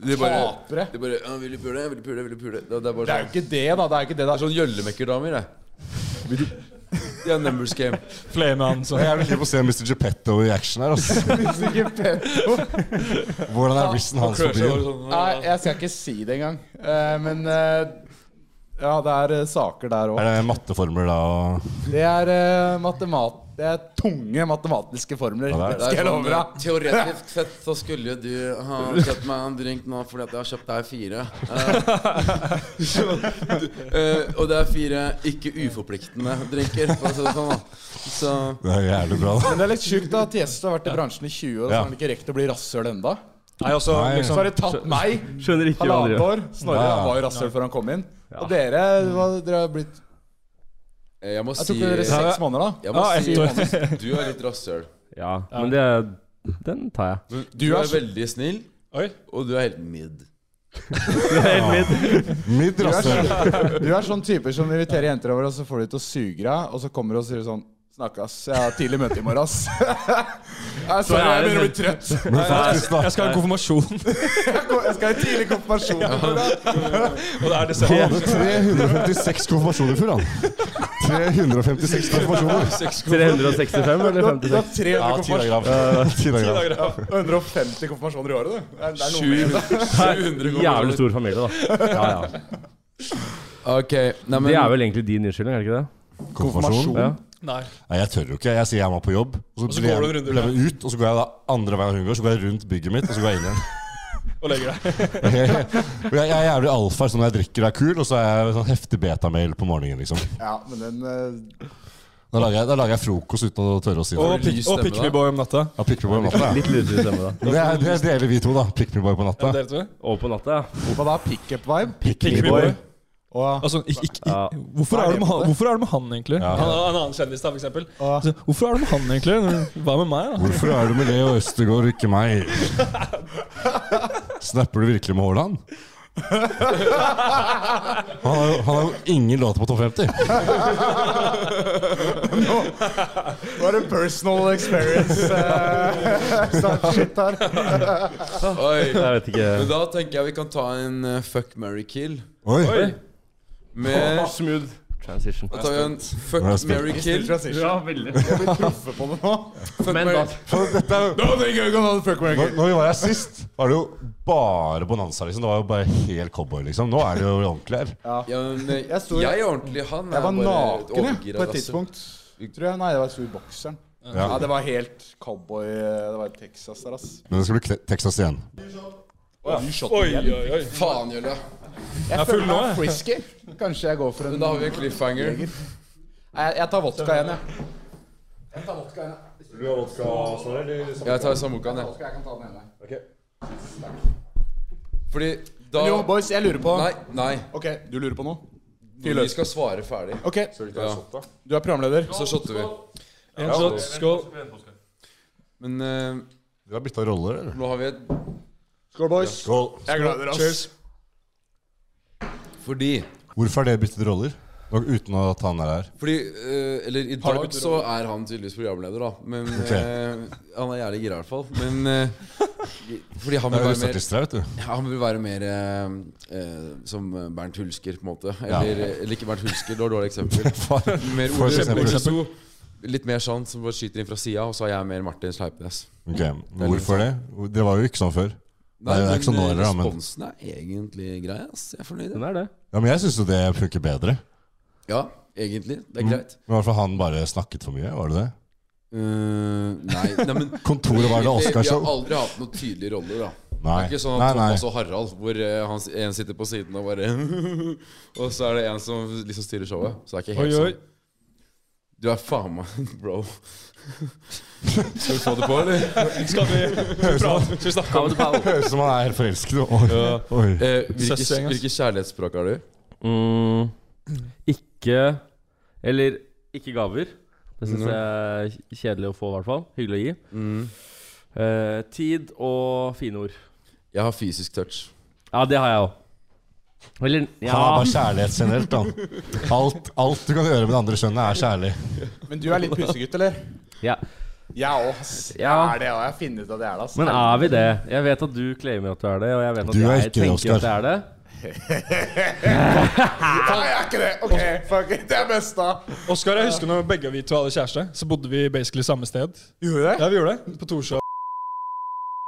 De bare, Tapere? de bare ja, 'Vil du pule? Vil du pule? Vil du pule?' Det, det er Det bare er jo sånn, ikke det, da. Det er jo ikke det, det er da. sånn jøllemekkerdamer, det. Det er numbers game. Flere eh, med han, så Jeg vil ikke få se Mr. Geppetto i action her, ass. Hvordan er rissen hans på Crusher var byen? sånn, Nei, jeg skal ikke si det engang. Eh, men eh, ja, det er eh, saker der òg. Er det matteformler da? og- Det er eh, matemat... Det er tunge matematiske formler. Ja, det er- det skal jeg love eh, deg. teoretisk sett så skulle du ha kjøpt meg en drink nå fordi at jeg har kjøpt deg fire. Eh, så, du- eh, og det er fire ikke uforpliktende drinker, for å si det sånn. da. Så Det er jævlig bra, da. Men det er litt sjukt da at Tiesto har vært i bransjen i 20 år, og så Ja. har han ikke rekt å bli rasshøl enda Nei, altså, Nei. Så liksom har det tatt meg Skjønner ikke hva han halvannet gjør. år. Snorre Ja. han var jo rasshøl før han kom inn. Og dere, hva, dere har blitt eh, jeg må Jeg si tok dere jeg seks måneder, da. må si Ja, ett år. Johannes, du er litt rasshøl. Ja, men det, den tar jeg. Du er veldig snill, Oi. og du er helt mid. Midd, Du er, ass. sånn, du er sånn typer som inviterer jenter over, og så får de til å suge deg, og så kommer du og sier sånn Snakkes. Jeg har tidlig møte i morgen, ass. Nei, Sorry, jeg begynner å bli trøtt. Men faktisk, da. Jeg skal ha konfirmasjon, Jeg går- jeg skal i tidlig konfirmasjon i morgen. og det er desember. Han hadde 356 konfirmasjoner før, han. 356 konfirmasjoner. 365 Du eller har, du 56? har 300 konfirmasjoner, Tilagrav. 150 konfirmasjoner i året, du. Det er- det er noe med det. 700 700 Jævlig kroner. stor familie, da. Ja, ja. Ok, nei, men Det er vel egentlig din unnskyldning, er det ikke det? Konfirmasjon? Ja. Nei. Nei, jeg tør jo ikke. Jeg sier jeg må på jobb. Og så, så blir jeg- går du en runde blir jeg med ut, og så går jeg da andre veien hun går, så går jeg rundt bygget mitt, og så går jeg inn igjen. Og legger deg. Og jeg, jeg er jævlig alfa sånn når jeg drikker og er kul, og så er jeg sånn heftig betamail på morgenen, liksom. Ja, men den eh, Da lager jeg, da lager jeg frokost uten å tørre å si Og, det. pick, og Pick Me Boy om natta. Ja, pick me boy på natta. ja. Litt lutere stemme, da. Det, er, det deler vi to, da. Pick me boy på Ja. natta. Dere to? Og på natta, ja. Hva da? Pickup-vibe? Pick Pick Me Boy. Og Altså, ikk- ikk- Ja. ikk- hvorfor, er det med han, hvorfor er det med han, egentlig? Ja. Han er en annen kjendis, da, for eksempel. Ja. Altså, hvorfor er det med han, egentlig? Hva med meg, da? Hvorfor er du med Leo Østegård og ikke meg? Snapper du virkelig med Haaland? Han har jo- han har jo ingen låter på topp 50. var det personal experience? eh, sånn Shit her. Oi. Jeg vet ikke. Men da tenker jeg vi kan ta en eh, fuck, marry, kill. Oi. Med Smooth transition. Da tar vi en fuck, Nå er jeg spent. marry, kill. Ja, veldig. Vi proffer på det nå. Fuck, Men marry- da For dette er jo Nå tenker jeg ikke om fuck Mary Når, når vi var her sist, var det jo bare bonanza. liksom Det var jo bare helt cowboy, liksom. Nå er det jo ordentlig her. ja, men, eh, Jeg sto- Jeg er ordentlig, han Jeg var bare naken jeg, overgira, på et altså. tidspunkt. Tror jeg, Nei, det var sur bokseren. Ja. Ja. det var helt cowboy eh, Det var Texas der, ass. Men det skal bli Kle- Texas igjen. Du shot Oi, igjen. oi, oi. Faen, Jølle. Jeg full føler nå, meg jeg. frisky. Kanskje jeg går for en Men da har vi en cliffhanger. Jeger. Nei, Jeg, jeg tar vodka igjen, jeg. Jeg tar vodka igjen, jeg. Jeg tar sambucaen, jeg. Vodka, jeg kan ta den ene. Fordi da Jo, boys, jeg lurer på Nei, nei. Ok, du lurer på noe? Vi skal svare ferdig. Ok, Ja. du er programleder. Så shotter vi. En shot. Skål. Men eh, Dere har bytta roller, eller? nå har vi et Skål, boys. Skål. Jeg er glad i dere, ass. Fordi Hvorfor har dere byttet roller? Og uten at han er her. Fordi, eh, eller I Har du dag et så er han tydeligvis programleder, da. Men Ok. eh, Han er jævlig gira, i hvert fall. Men eh, Fordi han vil være Det er jo mer, russartister her, vet du. ja, han vil være mer eh, eh, som Bernt Hulsker, på en måte. Eller, eh, eller ikke Bernt Hulsker, det var et dårlig eksempel. Far. Mer For Ole- eksempel. Ole So. Litt mer sånn, som bare skyter inn fra sida, og så er jeg mer Martin Sleipnes. Ok, Hvorfor det? Dere var jo ikke sånn før. Nei, det er ikke sånn nå heller, da, men- eh, responsen er egentlig grei, ass. Jeg er fornøyd. Den jeg. er det. Ja, Men jeg syns jo det funker bedre. Ja, egentlig. Det er greit. Men i hvert fall han bare snakket for mye, var det det? Eh, nei, nei, men Kontoret var det Vi har Oscarshow? aldri hatt noen tydelige roller, da. Nei. Det er ikke sånn at nei, nei. Thomas og Harald, hvor eh, han, en sitter på siden og bare Og så er det en som liksom styrer showet. Så det er ikke Oi, helt oi. sånn. Du er faen meg bro. Skal vi få det på, eller? Skal vi prate? Skal vi snakke om det? Høres ut som han er helt forelsket. Oi. Oi. Eh, hvilke, Søsgjeng, ass. hvilke kjærlighetsspråk har du? Mm, ikke Eller ikke gaver. Det syns jeg er kjedelig å få, i hvert fall. Hyggelig å gi. Eh, tid og fine ord. Jeg har fysisk touch. Ja, det har jeg òg. Eller ja. Han har bare kjærlighet generelt, da. Alt, alt du kan gjøre med det andre kjønnet, er kjærlig. Men du er litt pusegutt, eller? ja. Jeg òg. Jeg Ja. er det, og jeg har funnet ut at jeg er det. ass. Men er vi det? Jeg vet at du claimer at du er det, og jeg vet at Du er jeg ikke det, tenker at jeg Oscar. er det. Faen, jeg er ikke det! Ok, fuck it. Det er best, da. Oskar, jeg husker når begge vi to hadde kjæreste, så bodde vi basically samme sted. Gjorde du det? Ja, vi gjorde det. På Torshov.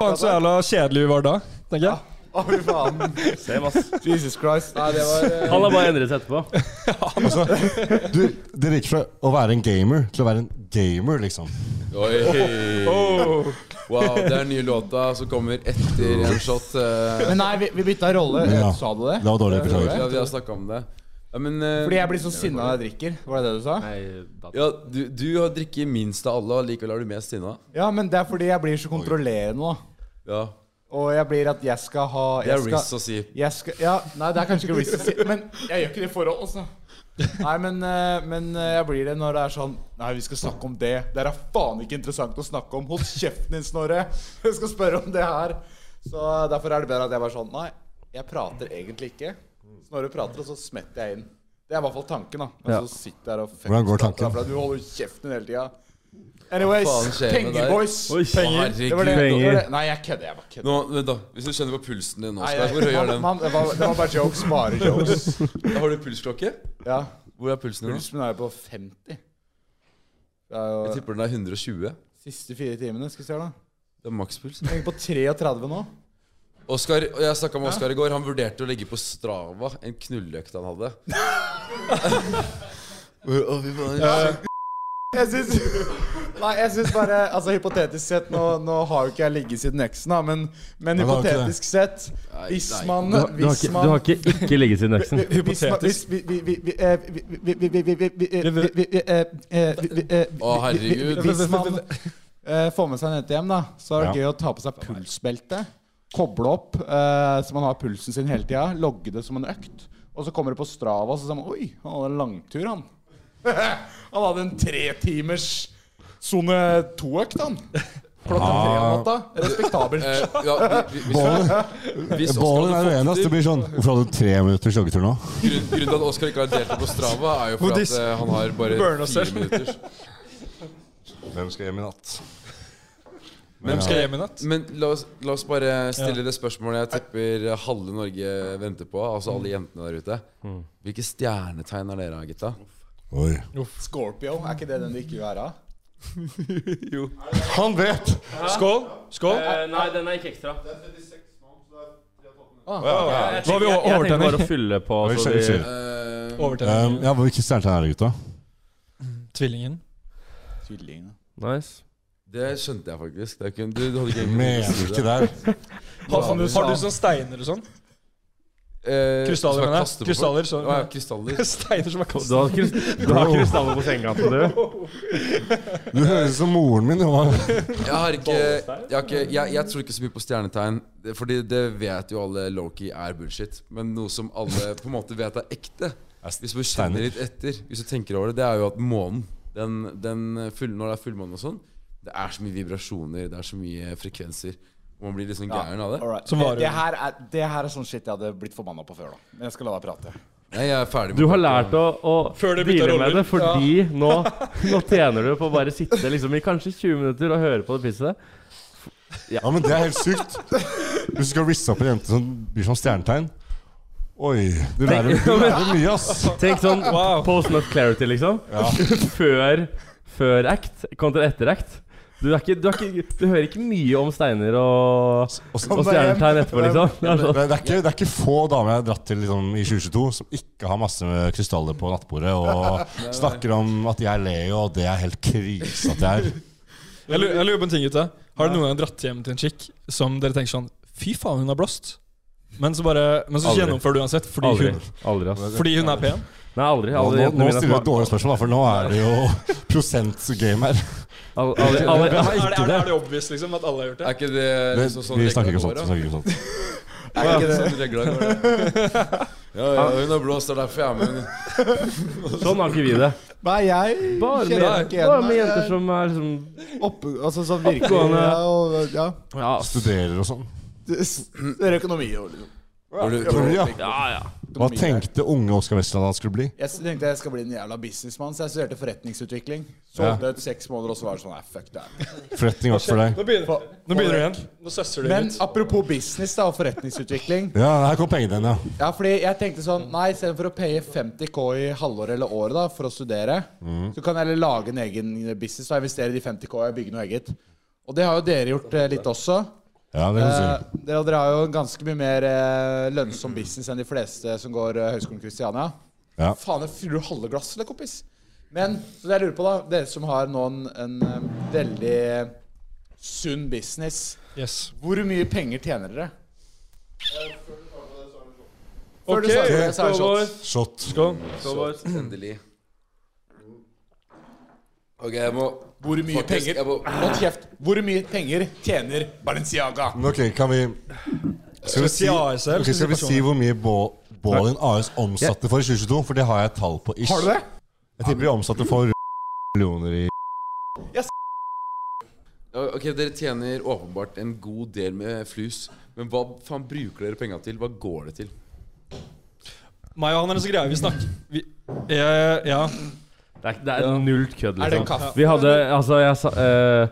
Faen så jævla kjedelig vi var da, tenker jeg. Å, fy faen. Same, ass. Jesus Christ. Nei, det var Han har bare endret seg etterpå. Altså, du, Dere gikk fra å være en gamer til å være en gamer, liksom. Oi. Wow, det er den nye låta som kommer etter en shot. eh. Men nei, vi, vi bytta rolle. Ja. Sa du det? Det var dårlig. Beklager. Ja, vi har snakka om det. Ja, men, eh, Fordi jeg blir så sinna når jeg drikker. Var det det du sa? Nei, ja, du, du har drukket minst av alle, og likevel er du mest sinna. Ja, men det er fordi jeg blir så kontrollerende, da. Ja. Og jeg blir at jeg skal ha Det jeg er skal, Riz å si. Jeg skal, ja, nei, det er kanskje ikke risk å si, men jeg gjør ikke det i forhold, altså. Nei, men, eh, men eh, jeg blir det når det er sånn Nei, vi skal snakke om det. Det her er faen ikke interessant å snakke om. Hold kjeften din, Snorre. Jeg skal spørre om det her. Så eh, derfor er det bedre at jeg bare sånn Nei, jeg prater egentlig ikke. Snorre prater, og så smetter jeg inn. Det er i hvert fall tanken, da. Men Ja. så sitter jeg her og fuck Hvordan går prater, tanken? da, for Du holder jo kjeften din hele tida. Anyways, Hva faen skjer med deg? penger, boys. Oi, Herregud. Det var det, det var Penger. det. Nei, jeg kødder. Jeg bare kødder. Nå, vent da, Hvis du kjenner på pulsen din nå, Nei, Oskar, hvor høy er man- den? man- det, var, det var bare jokes. Bare jokes. Har du pulsklokke? Ja. Hvor er pulsen din? nå? Pulsen min er jo på 50. Det er Jeg jo tipper den er 120. siste fire timene. Skal vi se, da. Det er makspuls. Jeg er på 33 nå. Oskar, og jeg snakka med Oskar i går. Han vurderte å legge på Strava en knulleøkt han hadde. Å, fy faen. Jeg syns Nei, jeg syns bare Altså, hypotetisk sett Nå, nå har jo ikke jeg ligget siden eksen, da, men, men Nei, det har ikke hypotetisk sett Nei, Hvis nei. man Du, har- du, har Hvis ikke, du man har ikke ikke ligget siden øksen. Hypotetisk. eh, Å, eh, Å, herregud. Hvis man eh, får med seg en jente hjem, da, så er det Ja. gøy å ta på seg pulsbelte. Koble opp eh, så man har pulsen sin hele tida. Logge det som en økt. Og så kommer det på Strava, og så sier man Oi, han hadde en langtur, han. han hadde en tretimers sone to-økt, han. Klokka tre om natta. Respektabelt. Eh, ja, vi- vi- hvis- Bålen hvis Oskar Bålen er hadde uenig. ass. fått Det til blir sånn Hvorfor hadde du tre minutter joggetur nå? grunn- Grunnen til at Oskar ikke har deltatt på Strava, er jo for at Buddhist. eh, han har bare Burn oss fire selv. minutter. Hvem skal hjem i natt? Hvem skal hjem i natt? Men la oss, la oss bare stille det spørsmålet jeg tipper halve Norge venter på. Altså alle jentene der ute. Hvilke stjernetegn er dere, gutta? Oi. Scorpio, er ikke det den du ikke vil være? Han vet! Skål. Skål. Eh, nei, den er ikke ekstra. Hva har vi o- Jeg tenkte bare overtenner? å fylle på. Oi, Så sorry, de, sorry. Eh, Um, Overtenner. ja, Hvilke stjernetegn er det, gutta? Tvillingen. Tvillingene. nice. det skjønte jeg faktisk. Det er ikke, du, du hadde ikke Mener du ikke der? Har, har du sånn steiner og sånn? Eh, som Krystaller, jeg mener kaster på jeg. Krystaller, folk. Å, ja, så krystaller. Steiner som er Du kastet. har, krys du har krystaller på sengekanten, du. Du høres ut som moren min. Johan. Jeg, har ikke, jeg, har ikke, jeg, jeg tror ikke så mye på stjernetegn. det- Fordi det vet jo alle Loki er bullshit. Men noe som alle på en måte vet er ekte, hvis du kjenner litt etter, Hvis du tenker over det, det er jo at månen Den, den full, når det er fullmåne og sånn, det er så mye vibrasjoner, det er så mye frekvenser. Og man blir liksom gæren av det. Alright. Så varer det, det, her er, det her er sånn shit jeg hadde blitt forbanna på før, da. Men jeg skal la deg prate. Nei, jeg er ferdig med Du har lært å, å Før det bytter deale roller. med det, fordi nå, nå tjener du på å bare sitte liksom i kanskje 20 minutter og høre på det pisset. Ja, men det er helt sykt. Hvis du skal risse opp en jente som blir som stjernetegn Oi, du lærer, du lærer mye, ass. Tenk sånn post not clarity, liksom. Før, før act kontra etter act. Du, er ikke, du, er ikke, du hører ikke mye om steiner og, Og så- og stjernetegn etterpå, liksom. Det er Det, sånn. det, er ikke, det er ikke få damer jeg har dratt til liksom, i 2022 som ikke har masse med krystaller på nattbordet og snakker om at de er Leo, og det er helt krise at jeg er. Jeg lurer, jeg lurer på en ting, gutta. Har dere noen gang dratt hjem til en chick som dere tenker sånn Fy faen, hun har blåst. Men så, bare, men så Aldri. gjennomfører du uansett fordi Aldri. hun, Aldri, ass. fordi hun er pen. Nei, altså, aldri. Nå, aldri nå, nå jentene mine stiller du et smak- dårlig spørsmål, for nå er det jo prosentgame her. al- aldri, aldri, Er det, er, det, er det obvious liksom at alle har gjort det? Er ikke det Vi, liksom sånn vi snakker reglene ikke går, om sånt. Vi da? Er snakker ikke om sånt. ikke det sånn reglene går, da? Ja, ja, hun har blåst, det er derfor jeg er med. henne. Sånn har ikke vi det. Nei, jeg Bare med, kjenner ikke bare igjen med meg. jenter som er liksom Opp, altså sånn virkelig Oppgående. ja, og, ja. Ja, Studerer og sånn. Det er økonomi og liksom. Var du- Tror du, ja. ja. ja. Hva tenkte unge Oskar Westland han skulle bli? Jeg tenkte jeg skal bli en jævla businessmann, så jeg studerte forretningsutvikling. Solgte et seks måneder, og så var det sånn Nei, fuck det. Forretning var ikke for deg. Nå begynner, nå begynner du igjen. Nå søsser du Men litt. apropos business da, og forretningsutvikling. Ja, her kom pengene dine, ja. Ja, fordi jeg tenkte sånn Nei, istedenfor å paye 50K i halvåret eller året da for å studere, Mhm. så kan jeg heller lage en egen business og investere de 50K og bygge noe eget. Og det har jo dere gjort eh, litt også. Ja, det Eh, kan du si. dere, dere har jo en ganske mye mer eh, lønnsom business enn de fleste som går eh, Høgskolen Kristiania. Ja. Faen, jeg fyller du halve glasset, eller, kompis? Men så det jeg lurer på, da Dere som har nå en, en eh, veldig sunn business, Yes. hvor mye penger tjener dere? Før Ok, du svarer på det, så er det shots. cowboys. Shot. Skål. Cowboys. Endelig. Ok, jeg må Hvor mye Faktisk, penger jeg må- Hold kjeft. Hvor mye penger tjener Balenciaga? Men Ok, kan vi Skal vi si, ASL? ok, skal vi si hvor mye Bå- Bålin AS omsatte for i 2022? For det har jeg et tall på. Ish. Har du det? Jeg tipper de omsatte for millioner i Ja, Ok, Dere tjener åpenbart en god del med flus, men hva faen bruker dere penga til? Hva går det til? Meg og han er en sånn greie. Vi snakker vi, eh, Ja. Det er, det er null kødd, Er det en liksom. kaffe? Vi hadde Altså, jeg sa eh,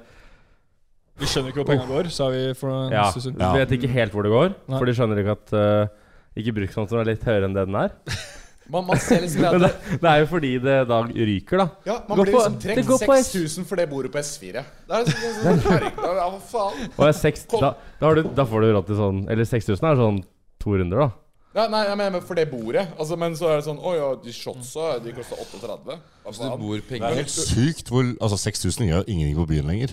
Vi skjønner ikke hvor pengene går, sa vi for en Ja. stund siden. Ja. Vet ikke helt hvor det går. Nei. For de skjønner ikke at eh, Ikke bruksområdet er litt høyere enn det den er. Man, man ser liksom at Men det, det, det er jo fordi det da ryker, da. ja, man går blir på- liksom det trukket går på S. 6000 for det bordet på S4. Det er liksom, liksom, ja, hva faen? Og er seks, da, da, har du, da får du råd til sånn Eller 6000 er sånn to runder, da. Ja, nei, jeg mener for det bordet. Altså, men så er det sånn Å ja, de shotsa de kosta 38. Hva Så du faen? bor Det er penger helt sykt hvor Altså, 6000 gjør ingenting på byen lenger.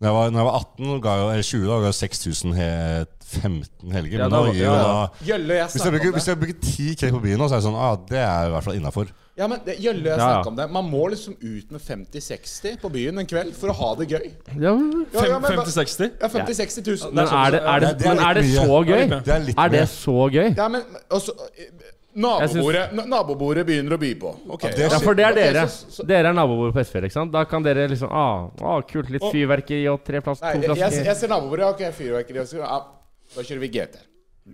Da jeg var, når jeg var 18, ga jeg, eller 20, da ga jeg 6000 he- 15 helger. Ja, men da da var- gir ja, jo ja. da Gjølle og jeg hvis jeg, snakka bruker, om hvis det. jeg bruker 10K på byen nå, så er det sånn ah, Det er i hvert fall innafor. Ja, men det, Gjølle og jeg Ja, ja. snakket om det. Man må liksom ut med 50-60 på byen en kveld for å ha det gøy. Ja, men, Ja, ja, men, 50-60? ja 50-60 000. men er det, er det, Nei, det er men er det litt mye. så gøy? Det er litt Det er litt Er det mer. så gøy? Ja, men også, eh, nabobordet, na- nabobordet begynner å by på. Ok, det er Ja, for det er Ok, dere. så- så- Dere er naboer på S4, ikke sant? Da kan dere liksom ah, ah, kult. Litt fyrverkeri og tre plass, Nei, to jeg, jeg, plass jeg ser nabobordet. Ok, fyrverkeri. og så- Ja, da kjører vi GT.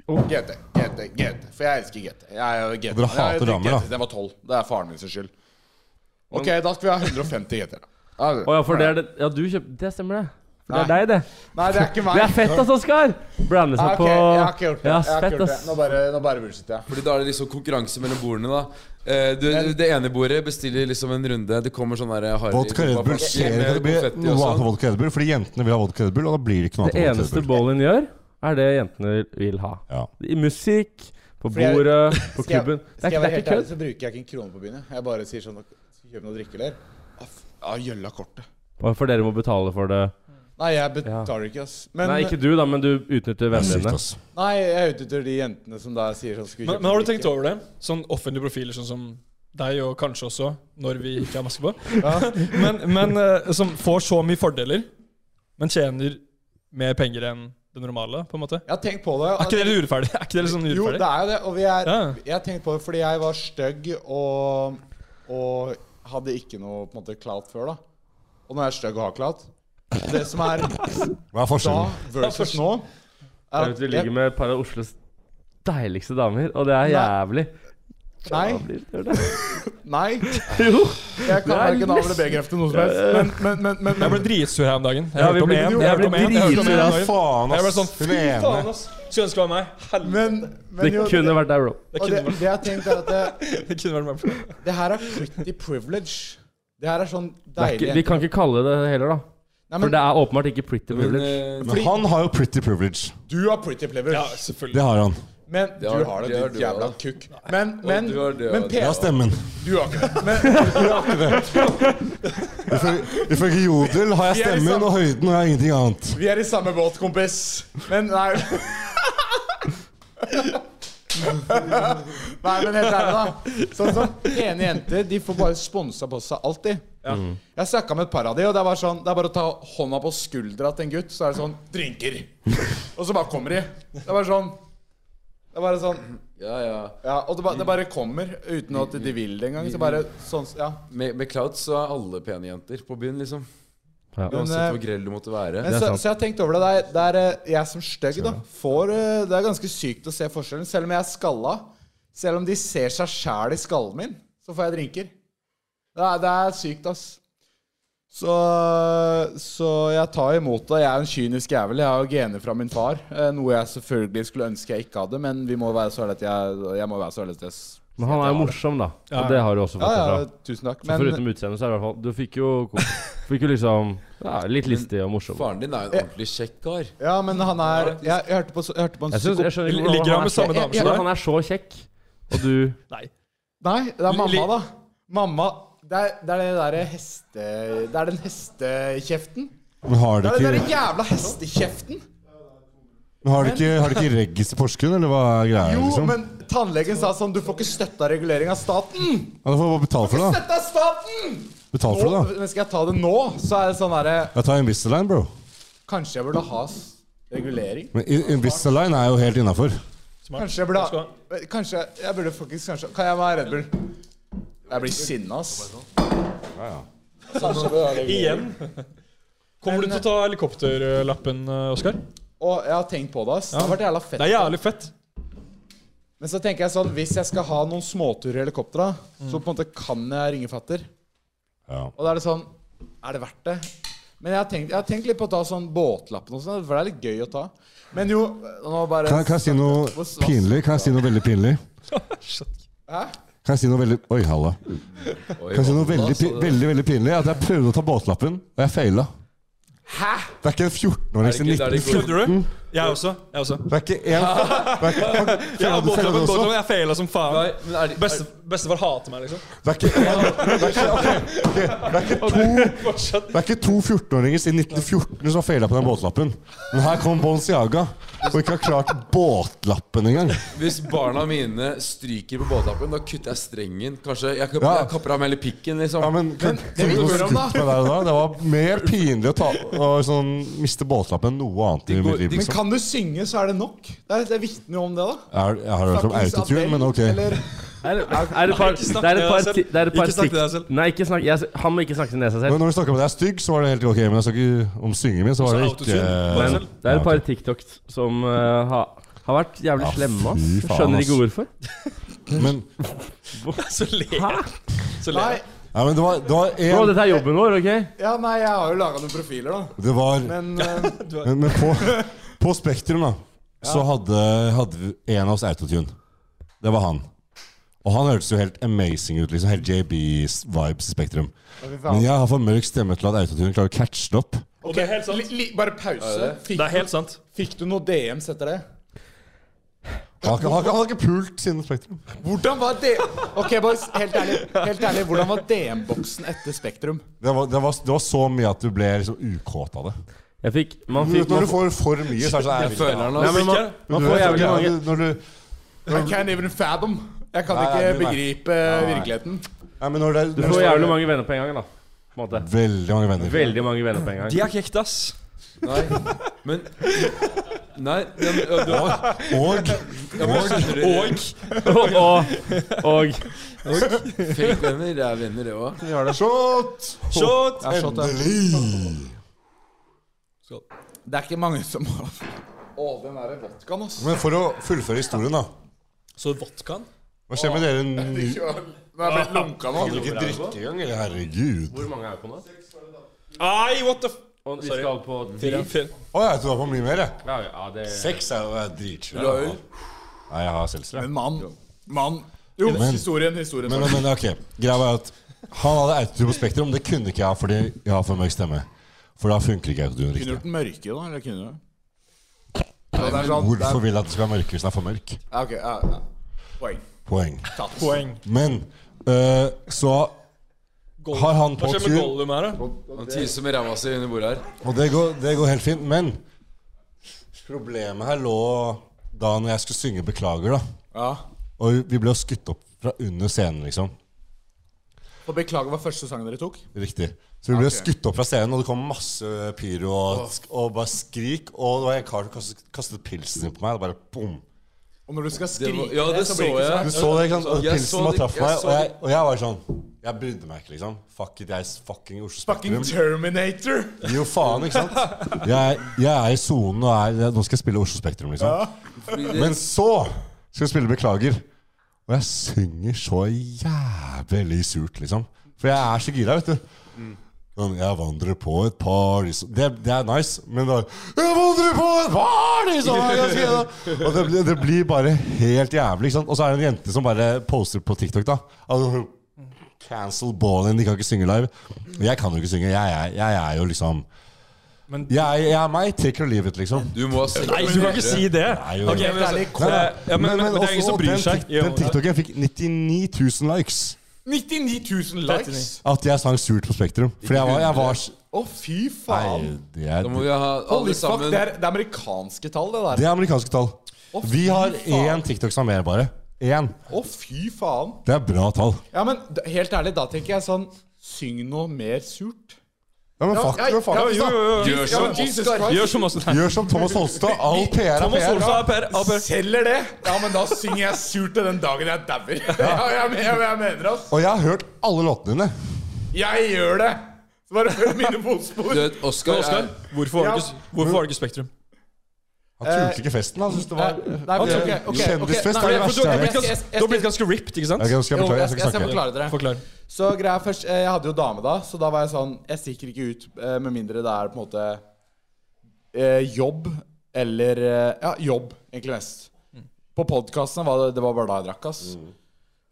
Oh. GT, GT, GT. For jeg elsker GT. Jeg er jo GT. Og Jeg dere har drukket hater damer, da. GT. Det var tolv. Det er faren min sin skyld. Ok, da skal vi ha 150 GT. Å ja, for det er det Ja, du kjøpte Det stemmer, det. For det er deg, det. Nei, det er ikke meg. Det er fett, ass, Oskar! Ja, Blande seg ok, liksom på jeg har ikke gjort det. Ja, Jeg har ikke fett, gjort det. ass. Nå bare, nå bare bullshitter jeg. Fordi da er det liksom konkurranse mellom bordene, da. Eh, du, det ene bordet bestiller liksom en runde. Det kommer sånn der Harry Vodka Red Bull med skjer ikke. Det blir konfetti og noe annet sånn. enn vodka Red Bull, fordi jentene vil ha vodka Red Bull, og da blir det ikke noe Det annet enn eneste vodka Red Bull. Bolin gjør, er det jentene vil ha. Ja. I musikk, på jeg- bordet, på Skal jeg- klubben. Det Skal jeg er, være det er helt ikke ærlig, kødd. så bruker jeg ikke en krone på byen. jeg. Jeg bare sier sånn Skal vi kjøpe noe å drikke, eller? Ja, f- Ja, gjølla kortet. Bare For dere må betale for det. Nei, jeg betaler ikke, ass. Men, Nei, ikke du, da, men du utnytter Det er vennene sykt, dine. ass. Nei, jeg utnytter de jentene som da sier sånn skal vi Men, kjøpe men har du drikke? tenkt over det? Sånn offentlige profiler sånn som deg, og kanskje også når vi ikke har maske på, men, men eh, som får så mye fordeler, men tjener mer penger enn det normale, på en måte. Jeg har tenkt på det. Er ikke det litt urettferdig? Er ikke det litt sånn Jo, det urettferdig? er jo det. Og vi er Ja. Jeg har tenkt på det fordi jeg var stygg og, og hadde ikke noe på en måte clout før, da. Og nå er jeg stygg og har clout. Det som er Hva er da forskjellen? versus nå Jeg er vet at Du jeg, ligger med et par av Oslos deiligste damer, og det er jævlig. Nei. Jævlig irriterende. Nei. Jo. Jeg kan Det er verken A- eller B-kreft til noe som helst. Men, men, men, men, Jeg men, ble dritsur her om dagen. Jeg Ja, vi hørte om ble- én. jo, Jeg jeg hørte om ble én, jeg hørte om én dritsur, om ass. dagen. Faen, Jeg ble ass. sånn Hun Fy faen, ene. ass. Skulle ønske det var meg. Helvete. men, men Det jo, det, kunne vært deg, bro. Det og det, kunne vært- det jeg tenkte er at det, det kunne vært meg. det her er pretty privilege. Det her er sånn Det er ikke, deilig vi kan ikke kalle det det heller, da. Nei, For men det er åpenbart ikke pretty privilege. Men, eh, Men han har jo pretty privilege. du har pretty privilege. Ja, selvfølgelig. Det har han. Men du har- har det det, har du du, jævla ja. kukk. Men, men, du har det, men ja. P- Det er stemmen. Du har ikke det. Men, Ifølge- Ifølge Jodel har jeg Vi er liksom- i stemmen samme- og høyden, og jeg har ingenting annet. vi er i samme båt, kompis. Men nei Nei, men helt ærlig, da. Sånn som Pene jenter de får bare sponsa på seg alltid. Jeg snakka med et par av de, og det var sånn Det er bare å ta hånda på skuldra til en gutt, så er det sånn Drinker. Og så bare kommer de. Det er bare sånn Det er bare sånn ja, ja. Ja, og det bare, det bare kommer uten at de vil det engang. Så bare sånn Ja. Med, med clout så er alle pene jenter på byen, liksom. Ja. Uansett eh, hvor grell du måtte være. Men så, så jeg tenkte over det. Det er, det er eh, jeg som stygg, da. Får, eh, det er ganske sykt å se forskjellen. Selv om jeg er skalla, selv om de ser seg sjæl i skallen min, så får jeg drinker. Det er, det er sykt, ass. Så, så jeg tar imot det. Jeg er jo en kynisk jævel. Jeg har jo gener fra min far. eh, Noe jeg selvfølgelig skulle ønske jeg ikke hadde, men vi må være så ærlige at jeg, jeg må være så ærlig at jeg s- Men han er jo morsom, da. Og det har du også Ja, fått ja, ifra. tusen takk. Så Men foruten utseendet, så er det i hvert fall Du fikk jo Fikk jo liksom ja, Litt listig og morsom. Faren din er jo en ordentlig kjekk kar. Ja, men han er Jeg, jeg hørte på, så- jeg hørte på en Jeg, synes, psyko... jeg skjønner ikke Ligger hvordan han han med er så, samme dame som hvordan han deg? er så kjekk, og du Nei. Nei, det er Li- mamma, da. Mamma Det er, det er det derre heste... Det er den hestekjeften. Men har de Det er den derre ikke, jævla hestekjeften! men har de ikke, har de ikke reggis i Porsgrunn, eller hva er greia? Jo, liksom? men tannlegen sa sånn Du får ikke støtte av regulering av staten! Ja, da får jeg bare betale for det, da. Støtte av staten! Betal for Nå, det, da. men skal jeg ta det nå, så er det sånn derre Jeg tar Invisalign, bro. Kanskje jeg burde ha s- regulering? Men I- Invisalign er jo helt innafor. Kanskje jeg burde ha Kanskje Jeg burde faktisk kanskje Kan jeg være Red Bull? Jeg blir sinna, ass. Sånn. Igjen. Kommer du til å ta helikopterlappen, eh, Oskar? Og jeg har tenkt på det, ass. Det har vært jævla fett. Det er jævlig fett. Men så tenker jeg sånn, hvis jeg skal ha noen småturer i helikoptera, så på en måte kan jeg ringe fatter. Ja. Og da er det sånn Er det verdt det? Men jeg har tenkt, jeg har tenkt litt på å ta sånn båtlappen og sånn, for det er litt gøy å ta. Men jo Nå bare Kan, kan jeg si noe pinlig? Kan jeg si noe veldig pinlig? Kan jeg si noe veldig Oi, halla. Kan jeg si noe veldig, pi- veldig, veldig pinlig? At jeg prøvde å ta båtlappen, og jeg faila. Hæ? Det er ikke en 14-åring Er det ikke der siden de 19... går- Kødder du? Jeg også. Jeg også. Det er ikke én Det er ikke- han- Jeg faila, du faila har det båtlappen, også. båtlappen. Jeg faila som Nei, faen. men er de, er, Beste, bestefar hater meg, liksom. Det er ikke én Det er ikke, ok, ok, det er ikke to Fortsatt. Det er ikke to 14-åringer siden 1914 som har faila på den båtlappen. Men her kom Balenciaga og ikke har klart båtlappen engang. hvis barna mine stryker på båtlappen, da kutter jeg strengen. Kanskje jeg, kapper- Ja. jeg kapper av meg hele pikken, liksom. Ja, men kan- kan du spør om, da. skutt meg der og da? Det var mer pinlig å ta, å sånn, miste båtlappen enn noe annet i mitt liv. Men Liksom. kan du synge, så er det nok. Det, er, det vitner jo om det, da. Jeg, har- jeg har hørt om Fuckings autotune, Adele, men ok. Eller Er det er det et par Ikke snakk Det er et til par deg selv. ti- det er et par Ikke snakk til tics- deg selv. Nei, ikke snakk jeg, Han må ikke snakke ned seg Men selv. når du snakker om at jeg er stygg, så var det helt ok. Men jeg snakker om syngingen min, så var det Også ikke autotune, bare Men selv. det er et Ja, par ok. TikToks som eh, har, har vært jævlig Ja, slemme. ass. fy Jeg faen, Skjønner ikke ass. hvorfor. Men, Så ler jeg. Så ler Nei. jeg. ja, men det var, det var Bro, en dette er jobben vår, OK? Ja, nei, jeg har jo laga noen profiler, da. Det var Men eh, Men, men på, på Spektrum, da, så hadde, hadde vi en av oss autotune. Det var han. Og han hørtes jo helt amazing ut. liksom Helt JB-vibes i Spektrum. fy faen. Men jeg har for mørk stemme til at autotune klarer å catche det opp. ok, det er helt sant. li, li, bare pause. Fikk, Det er helt sant. fikk du noe DMs etter det? Han har ikke- han har ikke- han har ikke pult siden Spektrum. Hvordan var det Ok, boys, helt ærlig, helt ærlig hvordan var DM-boksen etter Spektrum? Det var, det, var, det var så mye at du ble liksom ukåt av det. Jeg fikk Man Du vet, fikk når man, du får for mye, så er det sånn jeg føler han, Nei, altså. men man, Du man vet, får jævlig når mange du- når du, I can't even fathom. Jeg kan Nei, ikke nei, nei. begripe nei. virkeligheten. nei, men når det, Du når får det- jævlig mange venner på en gang, da. På en måte. Veldig mange venner. Veldig mange venner på en gang. De er kjekt, ass. Nei. Men Nei, ja, men, ja, du, Og ja, men, skjønner du- og, og, og Fake venner, det er venner, det òg. Shot! Shot! Jeg har shot, ja. Endelig! Det er ikke mange som har Å, den derre vodkaen, ass. Men for å fullføre historien, da. Så vodkaen? Hva skjer med dere nå? Nå er jeg blitt lunka nå. Kan dere ikke drikke engang? eller? Herregud. Hvor mange er på nå? Ai, what the f... Og vi skal på Fire, ti. fire. Å, jeg tror det var mye mer. jeg. Ja, ja, det Seks er jo jeg er dritsvær. Vil du ha øl? Nei, jeg har seltzer. jeg. Men mann, mann Jo, Men- historien, historien. Men, men ok, greia var at han hadde autotune på Spektrum. Det kunne ikke jeg ha fordi jeg har for mørk stemme. For da funker ikke Kunne autotune du riktig. gjort den mørke, da? Eller kunne du? Ja, det er sånn- det Hvorfor er- vil jeg at det skal være mørke hvis den er for mørk? Ja, ok, ja, ja. Poeng. Poeng. Tatt. Poeng. Men øh, så Gollum. har han Hva på skjer med tune, Gollum her, da? Han tiser med ræva si under bordet her. og det går, det går helt fint. Men problemet her lå da når jeg skulle synge 'Beklager', da. Ja. Og vi ble jo skutt opp fra under scenen, liksom. Og beklager, hva første sangen dere tok? Riktig. Så vi ble Ok. skutt opp fra scenen, og det kom masse pyro og, og bare skrik. Og det var en kar som kastet, kastet pilsen sin på meg. Og bare boom. Og når du skal Det var, skrike ja, det så så blir det ikke jeg. Du så det, ikke sant? Og Jeg så pilsen bare det- traff jeg meg. så Og jeg, det. og jeg var sånn Jeg brydde meg ikke, liksom. Fuck it, jeg er fucking Oslo Fucking Spektrum. Terminator! Gi jo faen, ikke sant? Jeg, jeg er i sonen og er Nå skal jeg spille Oslo Spektrum, liksom. Fordi det- Men så skal jeg spille Beklager. Og jeg synger så jævlig surt, liksom. For jeg er så gira, vet du. Sånn, jeg vandrer på et par liksom. det, det er nice, men da Jeg vandrer på et par liksom. Jeg kan si det. Og det, blir- det blir bare helt jævlig. Ikke sant? Og så er det en jente som bare poster på TikTok. da altså, Cancel ballen, de kan ikke synge live. Jeg kan jo ikke synge. Jeg, er- jeg er jo liksom Men- jeg, jeg er meg. Take your leave it, liksom. Du må ha sett Nei, du kan ikke si det! Nei, jo. Ok, men, altså, ærlig, det er- ja, men, men, men det er ingen også som bryr den, seg. tik- den TikToken fikk 99 000 likes. 99 000 likes! At jeg sang surt på Spektrum. Fordi jeg var, jeg var s- Å, fy Nei, faen! det Da må er, vi ha alle Holy fuck, sammen det er, det er amerikanske tall, det der. det er amerikanske tall. Å, fy Vi har faen. én TikTok som er mer, bare. Én. Å, fy faen. Det er bra tall. Ja, men d- helt ærlig, da tenker jeg sånn Syng noe mer surt. Ja, men fuck, ja, men fuck ja, oss, da. Gjør Ja, som men Jesus Oscar. Christ, Gjør som oss. Gjør som Thomas Holstad. All PR er Thomas PR. Olsen er per. er per. selger det! Ja, men da synger jeg surt til den dagen jeg dauer. Ja, jeg, men- jeg, jeg mener det, ass. Og jeg har hørt alle låtene dine. Jeg gjør det! Så bare følg mine fotspor. Du vet, Oscar Oskar, er hvorfor var Ja. det ikke, hvorfor var det ikke Spektrum? Eh, Han turte ikke festen. Han syntes det var Nei, men, ok, ok, ok. Kjendisfest Nei, er det men- verste jeg Du vet. har blitt ganske- du har blitt ganske ripped, ikke sant? Ok, nå skal jeg Jo, jeg, jeg beklage. Jeg skal skal ikke snakke. forklare dere. Forklar. Så greia først, eh, jeg hadde jo dame da, så da var jeg sånn Jeg stikker ikke ut eh, med mindre det er på en måte eh, jobb eller eh, Ja, jobb, egentlig mest. På podkastene var det, det var bare da jeg drakk, ass.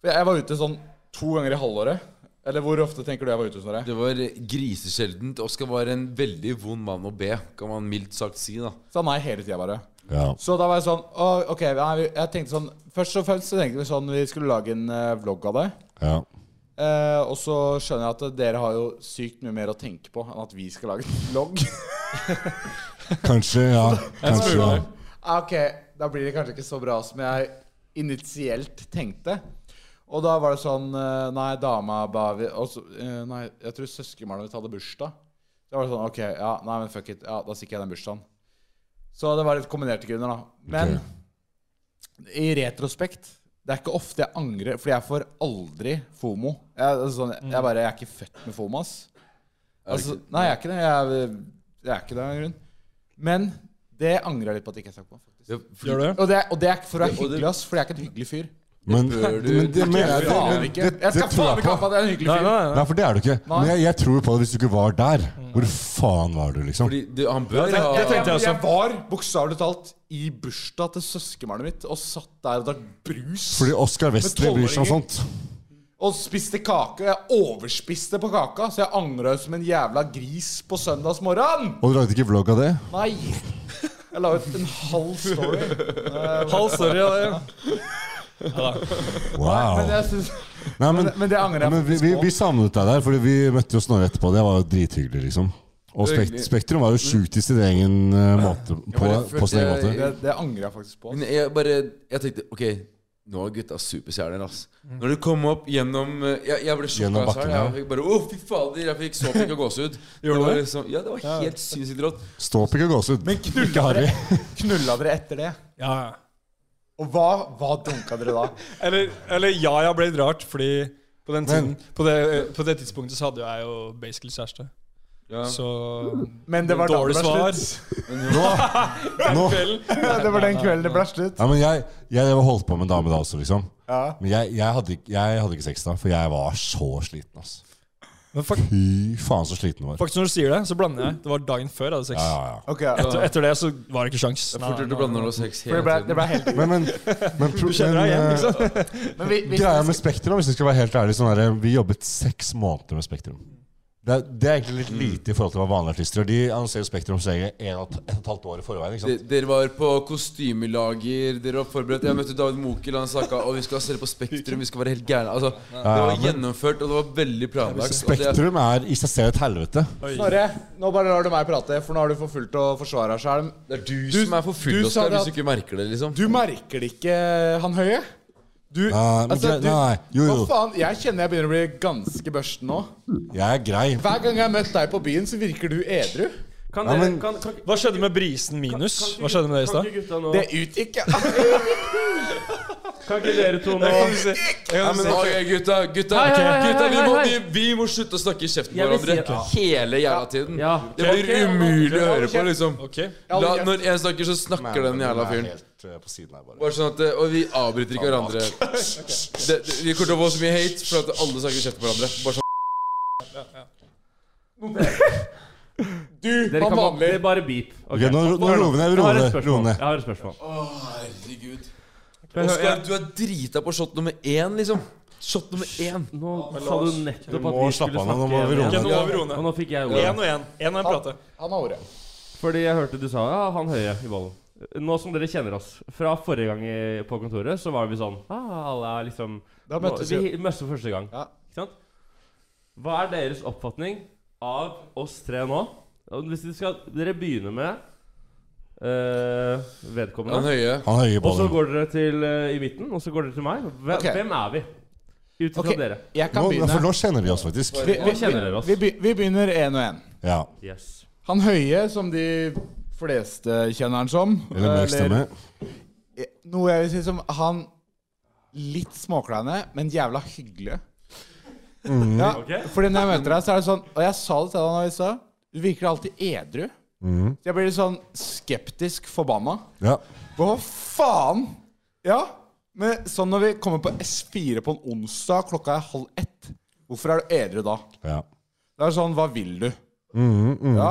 For Jeg, jeg var ute sånn to ganger i halvåret. Eller hvor ofte tenker du jeg var ute? Snorre? Det var grisesjeldent. Oskar var en veldig vond mann å be, kan man mildt sagt si. da Sa nei hele tida, bare. Ja. Så da var jeg sånn å, Ok, nei, vi- jeg tenkte sånn Først og fremst så tenkte vi sånn vi skulle lage en eh, vlogg av det. Ja. Eh, og så skjønner jeg at dere har jo sykt mye mer å tenke på enn at vi skal lage en vlogg. Kanskje, ja. Kanskje, ja. Ja, Ah, Ok, da blir det kanskje ikke så bra som jeg initielt tenkte. Og da var det sånn eh, Nei, dama ba vi og så, eh, Nei, jeg tror søskenbarnet mitt hadde bursdag. Da var det sånn Ok, ja, nei, men fuck it. Ja, da stikker jeg den bursdagen. Så det var litt kombinerte grunner, da. Men i retrospekt Det er ikke ofte jeg angrer, Fordi jeg får aldri FOMO. Jeg, det er sånn, jeg bare Jeg er ikke født med FOMO, ass. Altså, nei, jeg er ikke det. Jeg, er- jeg er ikke det av en grunn. Men det angrer jeg litt på at jeg ikke jeg snakker om. faktisk. Ja, Gjør fordi- du det? Og det, er, og det er ikke for å være Og det- hyggelig, ass, for jeg er ikke en hyggelig fyr. Men, Det bør du- men det mener jeg det, Faen men ikke. Jeg det, det skal tror faen jeg ikke på. ha på at jeg er en hyggelig Nei, fyr. nei, nei. Nei, for det er du ikke. Men Nei. jeg, jeg tror på det hvis du ikke var der. Mm. Hvor faen var du, liksom? Fordi det, han bør Jeg, ha jeg, tenkte jeg også. jeg var bokstavelig talt i bursdag til søskenbarnet mitt og satt der og drakk brus Fordi Oscar Westley bryr seg om sånt. og spiste kake. Og jeg overspiste på kaka, så jeg angra som en jævla gris på søndagsmorgen. Og du lagde ikke vlogg av det? Nei! Jeg la ut en halv story. Halv story av det. Wow. Men jeg synes, Nei, men, men det angrer jeg men vi, faktisk vi, på. vi savnet deg der, Fordi vi møtte jo Snorre etterpå. Det var jo drithyggelig, liksom. Og spekt, Hyggelig. Spektrum var jo sjukt i sin egen eh, måte. På, bare følte på sin egen jeg- måte. det, det angrer jeg faktisk på. Men jeg bare Jeg tenkte ok, Nå er gutta superstjerner, ass. Mm. Når du kom opp gjennom eh, Jeg, jeg ble sjokka Gjennom av seg. bakken, ja. Jeg fikk bare Å, fy fader! Jeg fikk såping og gåsehud. Det var det? liksom- Ja, det var helt sinnssykt rått. Ståp ikke gåsehud. Men knulla dere, knulla dere etter det? Ja, ja. Og hva, hva dunka dere da? Eller, eller ja, jeg ble litt rart, fordi på, den tiden, på, det, på det tidspunktet så hadde jo jeg jo basically kjæreste. Ja. Så Men det var da det Dårlig ble svar. slutt. Nå, nå. Det var den kvelden det ble slutt. Ja, men jeg, jeg holdt på med en dame da også, liksom. Ja. Men jeg, jeg, hadde, ikke- jeg hadde ikke sex da, for jeg var så sliten, ass. Men fak Fy faen, så sliten jeg var. faktisk, når du sier det, så blander jeg. Det var dagen før jeg hadde sex. Ja, ja, ja. Ok, ja. Etter, etter det så var det ikke sjans. Det er fort gjort å blande når du har sex For det hele ble, det tiden. ble helt Men, men, men, pro- men, Kjenner deg igjen, eh, ikke sant? Men vi, vi, Greia med Spektrum, hvis jeg skal være helt ærlig sånn der, Vi jobbet seks måneder med Spektrum. Det er, det er egentlig litt lite i forhold til hva vanlige artister gjør. De annonserer Spektrum så jeg en og et, et og et halvt år i forveien. ikke De- sant? Dere var på kostymelager, dere var forberedt. Jeg møtte David Mokel, han snakka Og vi skal se det på Spektrum, vi skal være helt gærne. Altså, det var men- gjennomført, og det var veldig planlagt. Og det- Spektrum er i seg selv et helvete. Snorre, nå bare lar du meg prate, for nå har du forfulgt å forsvare deg sjøl. Det er du, som er for full, du sa det Oskar, at- hvis du ikke merker det, liksom. Du merker det ikke, han høye? Du, Nei, men altså, gre- du nei, jo, Hva jo. faen? Jeg kjenner jeg begynner å bli ganske børsten nå. Jeg er grei. Hver gang jeg har møtt deg på byen, så virker du edru. Kan Ja, dere men- kan, kan, Hva skjedde med brisen minus? Hva skjedde med det i kan stad? ikke gutta nå Det utgikk jeg. Kan ikke dere to nå Ja, men, ok, gutta, gutta, Hei, hei, hei, gutta vi, hei, må, hei. vi, vi må slutte å snakke i kjeften på Jeg vil si hverandre hele jævla tiden. Ja. Det blir Ok, umulig å høre på, liksom. Ok. La, når en snakker, så snakker den jævla fyren. Helt eh, på siden her, bare. Bare sånn at, eh, Og vi avbryter ikke hverandre. Det, det, vi kommer til å få så mye hate for at alle snakker i kjeften på hverandre. Bare sånn Du, Dere han kan vanlig. Det er bare beep. Ok, Ok, nå- hør nå roer vi ned, vi Jeg roer har et ned, spørsmål. roer ned. Jeg har et spørsmål. Å, herregud. Oskar, du er drita på shot nummer én, liksom. Shot nummer én. Nå sa du nettopp at må vi slappe skulle av nå, nå må snakke vi roe Ok, igjen. nå må vi roe Og ned. nå fikk jeg ordet. Én og én. Én og én prate. Han har ordet. Fordi jeg hørte du sa ja, han høye i bollen. Nå som dere kjenner oss fra forrige gang i, på kontoret, så var vi sånn ah, Alle er liksom Da møttes vi. Vi møttes for første gang. Ja. Ikke sant? Hva er deres oppfatning av oss tre nå? Og Hvis dere skal Dere begynner med eh, Han vedkommende. høye. Han høye Og så bollen. går dere til eh, i midten, og så går dere til meg. Hvem, Ok. hvem er vi? Ut ifra Ok, dere. jeg kan Nå, begynne. for nå kjenner de oss faktisk. Vi, Nå vi, kjenner dere oss. vi, be- vi begynner én og én. Ja. Yes. Han høye, som de fleste kjenner han som. Eller mørk stemme. Eh, noe jeg vil si som han litt småkleine, men jævla hyggelig. Ja, Ok. Fordi når jeg møter deg, så er det sånn Og jeg sa det til deg da i stad. Du virker alltid edru. Så jeg blir litt sånn skeptisk forbanna. Ja. Hva faen? Ja. Men sånn når vi kommer på S4 på en onsdag, klokka er halv ett. Hvorfor er du edru da? ja. Det er sånn, hva vil du? Ja,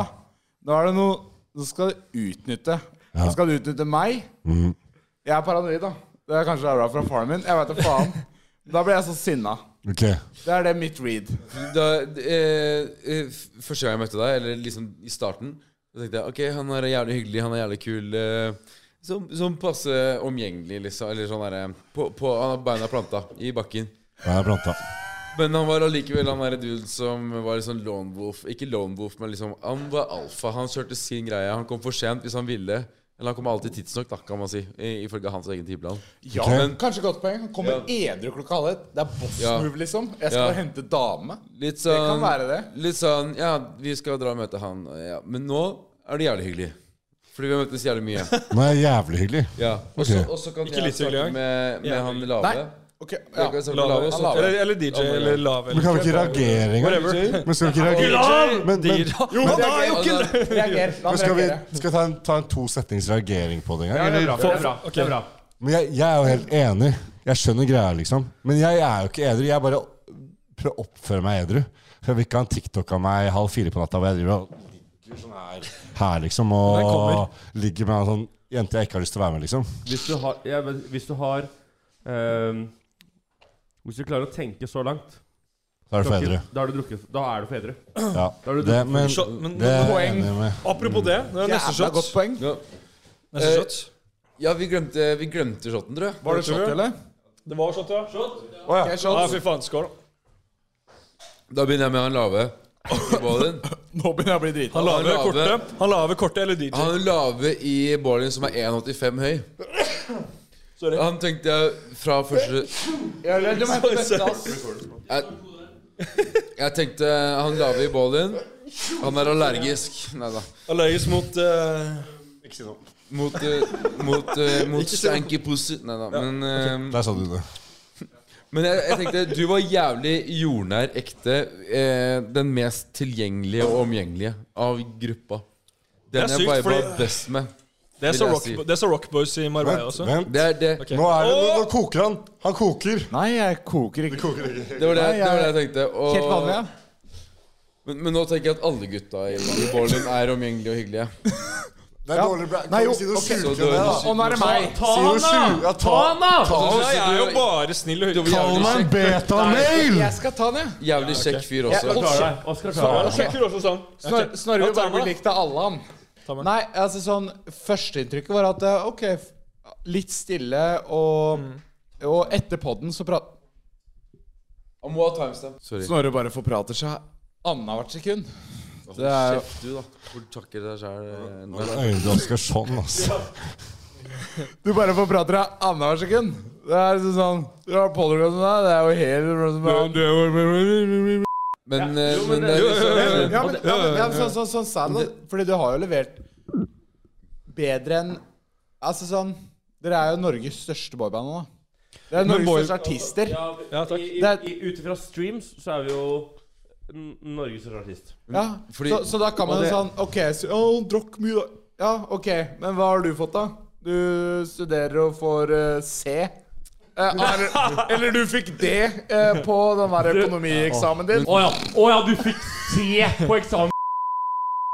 da er det noe Nå skal du utnytte. Nå skal du utnytte meg. Jeg er paranoid, da. Det er kanskje det er bra fra faren min. Jeg vet da faen. Da blir jeg så sinna. Ok. Det er det mitt read. da, eh, eh, f- Første gang jeg møtte deg, eller liksom i starten, Da tenkte jeg ok, han er jævlig hyggelig, han er jævlig kul. Eh, som, som passe omgjengelig, liksom. Eller sånn derre på, på Han har beina planta i bakken. Da er jeg planta. Men han var allikevel han derre duden som var litt sånn lone wolf. Ikke lone wolf, men liksom Han var alfa. Han kjørte sin greie. Han kom for sent hvis han ville. Eller han kom alltid tidsnok, da, kan man si. i- Ifølge hans egen tidplan. Ja, men- Kanskje godt poeng. Han kommer edru klokka halv ett. Det er boss Ja. move, liksom. Jeg skal Ja. hente dame. Litt sånn Det kan være det. Litt sånn Ja, vi skal dra og møte han. Ja. Men nå er det jævlig hyggelig. Fordi vi har møttes jævlig mye. Nå er jeg jævlig hyggelig. Ja. Og så- og så kan Ikke jeg litt hyggelig snakke engang. med, med Jævlig. han Nei. lave. Ok, Ja. ja. Kan snakke med lave, og Lave. sånn så- lave. Eller, eller DJ eller lave. Men Eller. kan vi ikke reagere engang? Whatever. Men skal vi ikke reagere? Men, men, Jo, han er jo ikke Altså, Reager. La meg men skal vi reagere. skal vi ta en, ta en to setnings reagering på det en gang? Det er bra. eller? Det er bra. Det er bra. Men jeg, jeg er jo helt enig. Jeg skjønner greia, liksom. Men jeg er jo ikke edru. Jeg bare prøver å oppføre meg edru. For jeg vil ikke ha en TikTok av meg halv fire på natta hvor jeg driver og ligger sånn her, her liksom, Den kommer. og ligger med en sånn jente jeg ikke har lyst til å være med, liksom. Hvis du har, ja, men hvis, du har ehm, hvis du klarer å tenke så langt Da er du for edru. drukket- Da er du drukket Da er du på edru. Ja. Da er du Det, men Shot- men- det er jeg poeng. enig med. Apropos det, det er neste Jævla shot. godt poeng. ja. Neste shot. ja, vi glemte, vi glemte shotten, tror jeg. Var det shot, eller? Det var shot, ja. Shot? Ok, Ja, shot. fy faen. Skål. Da begynner jeg med han lave. I bålen. Nå begynner jeg å bli drita. Han lave lave. E kortet. Han lave kortet eller DJ. Han lave i bålen som er 1,85 høy. Sorry. Han tenkte jeg fra første Du må hente bøtta, ass. Jeg, jeg tenkte han lave i bålen. Han er allergisk. Nei da. Allergisk mot eh, Mot, eh, mot, eh, mot Ikke si noe. stanky pussy. Nei da. Men, eh, Der sa du det. men jeg, jeg tenkte du var jævlig jordnær ekte. Eh, den mest tilgjengelige og omgjengelige av gruppa. er Den jeg sykt, viba fordi- best med. Det er så Vil jeg rock, si. det er så Rockboys i Marbella Vent, også. vent. Det er det. Ok. Nå, er det, nå, nå koker han. Han koker. Nei, jeg koker ikke. Det var det, det, var det jeg tenkte. Og, Helt vanlig, ja. men, men nå tenker jeg at alle gutta i, i bålen er omgjengelige og hyggelige. Det er Ja. dårlig bra. Kan Nei, du jo, si noe ok. sjukt Så om du- det, da? Og nå er det meg. Si noe sjukt. Ja, ta han, da! Ta Ja, han. jeg er jo bare snill og hyggelig. Kall meg en betamail! Jeg skal ta den, jeg. Jævlig kjekk fyr også. Ja, Klarer deg. Oskar klarer deg. Sjekker også sånn. Snor- Snorre vil bare bli likt av alle, Ta han. meg. Nei, altså sånn Førsteinntrykket var at eh, OK, f- litt stille, og, og etter podden så prat... Han må ha timestamp. Sorry. Snorre bare forprater seg annethvert sekund. Det er jo Kjeft du, da. Hvor takker deg Nå sjæl. er Øynene Oskar sånn, altså. Du bare forprater deg annethvert sekund. Det er liksom sånn Du har polyglotten der, det er jo helt Men, eh, jo, men men det- det er jo, jo, liksom jo, jo. Ja, men, ja, men, ja, men sånn, sånn, sånn standard Fordi du har jo levert bedre enn Altså sånn Dere er jo Norges største boyband nå. da. Dere er Men Norges boy- største artister. Ja. Ja, takk. I- i- Det er- i- Ut ifra streams så er vi jo n- Norges største artist. Fordi- så, så da kan man jo og det- sånn OK, så, oh, drakk mye da. Ja, OK. Men hva har du fått, da? Du studerer og får eh, C. Eh, er, eller du fikk D eh, på den der økonomieksamen din. Å ja. Å ja, du fikk se på eksamen!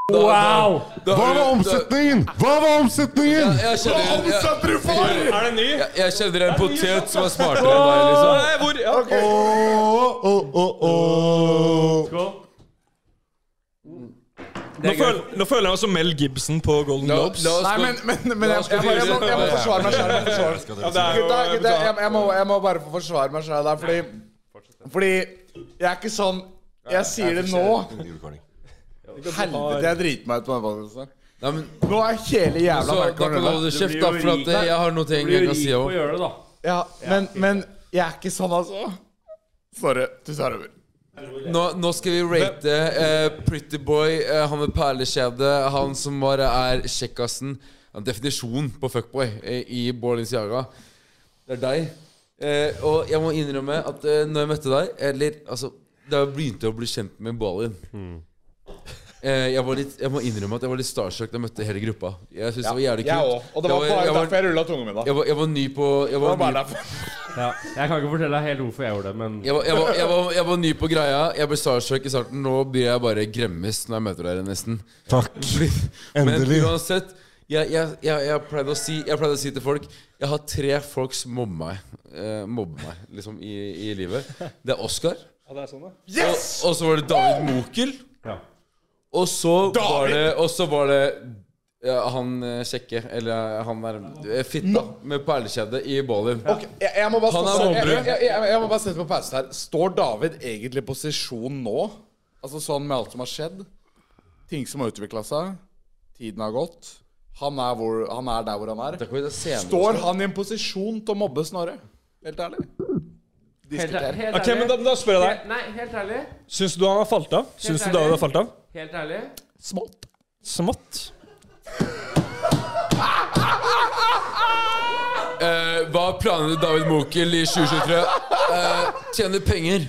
Wow! Da- Hva var da- omsetningen? Hva var Ja, omsetningen? Jeg kjenner en, jeg, Omsetter du for?! Er det ny? jeg- jeg kjenner en sånn. potet som er smartere enn deg, liksom. Nei, hvor? Ja. Åh, åh, åh, åh. Skål. Nå, føl, nå føler jeg meg som Mel Gibson på Golden La, Globes. la oss Nei, gå- men, men, men jeg, jeg, må- jeg, må- jeg må forsvare meg sjøl. Jeg må forsvare Ja, det er jo- Gutta, gutta, jeg, jeg, må, jeg må bare få forsvare meg sjøl der, fordi Fordi jeg er ikke sånn Jeg sier det nå. Helvete, jeg driter meg ut på den podcasten her. Nei, men Nå er hele så, jævla Da kan hardcore du unna. holde kjeft, blir da, jo for at rik. eh, jeg har noe Du ting blir jeg jo kan si rik på å òg. gjøre det, da. Ja, men, men jeg er ikke sånn, altså. Sorry. Du tar over. Nå, nå skal vi rate eh, Pretty Boy, eh, han med perlekjede, han som bare er kjekkasen. Han er Definisjonen på fuckboy eh, i Borlins Jaga. Det er deg. Eh, og jeg må innrømme at eh, når jeg møtte deg Eller altså Da jeg begynte å bli kjent med Balin Hmm. eh, jeg, var litt, jeg må innrømme at jeg var litt starstruck da jeg møtte hele gruppa. Jeg synes det var jævlig Jeg kult òg. Og det var jeg, var, bare jeg, var, derfor jeg rulla tunga mi da. Det jeg, var, jeg var ny på Jeg var, var bare ny, derfor. Ja. Jeg kan ikke fortelle deg helt hvorfor jeg gjorde det, men jeg var, jeg var, jeg var, jeg var ny på greia. Jeg ble starstruck i starten. Nå blir jeg bare gremmes når jeg møter dere, nesten. Takk. Endelig. Men uansett jeg, jeg, jeg, jeg, pleide å si, jeg pleide å si til folk Jeg har tre folk som mobber meg, eh, mobber meg liksom, i, i livet. Det er Oskar. og, og så var det David Mokel. Ja. Og så var det, og så var det ja, han eh, kjekke, eller eh, han der eh, fitta med perlekjede i Bolin. Ok, jeg, jeg må bare Han er stoppe- jeg, målbrygg. jeg, jeg, jeg, jeg må bare sette på pause her. Står David egentlig i posisjon nå? Altså sånn med alt som har skjedd? Ting som har utvikla seg? Tiden har gått? Han er, hvor, han er der hvor han er? Står han i en posisjon til å mobbe Snorre? Helt ærlig? Helt, Diskuter. helt Ok, men da, da spør jeg deg. Nei, helt ærlig. Syns du han har falt av? Syns du David har falt av? Helt ærlig. Smått. Smått. Eh, hva er planene til David Mokel i 2023? Eh, tjene penger.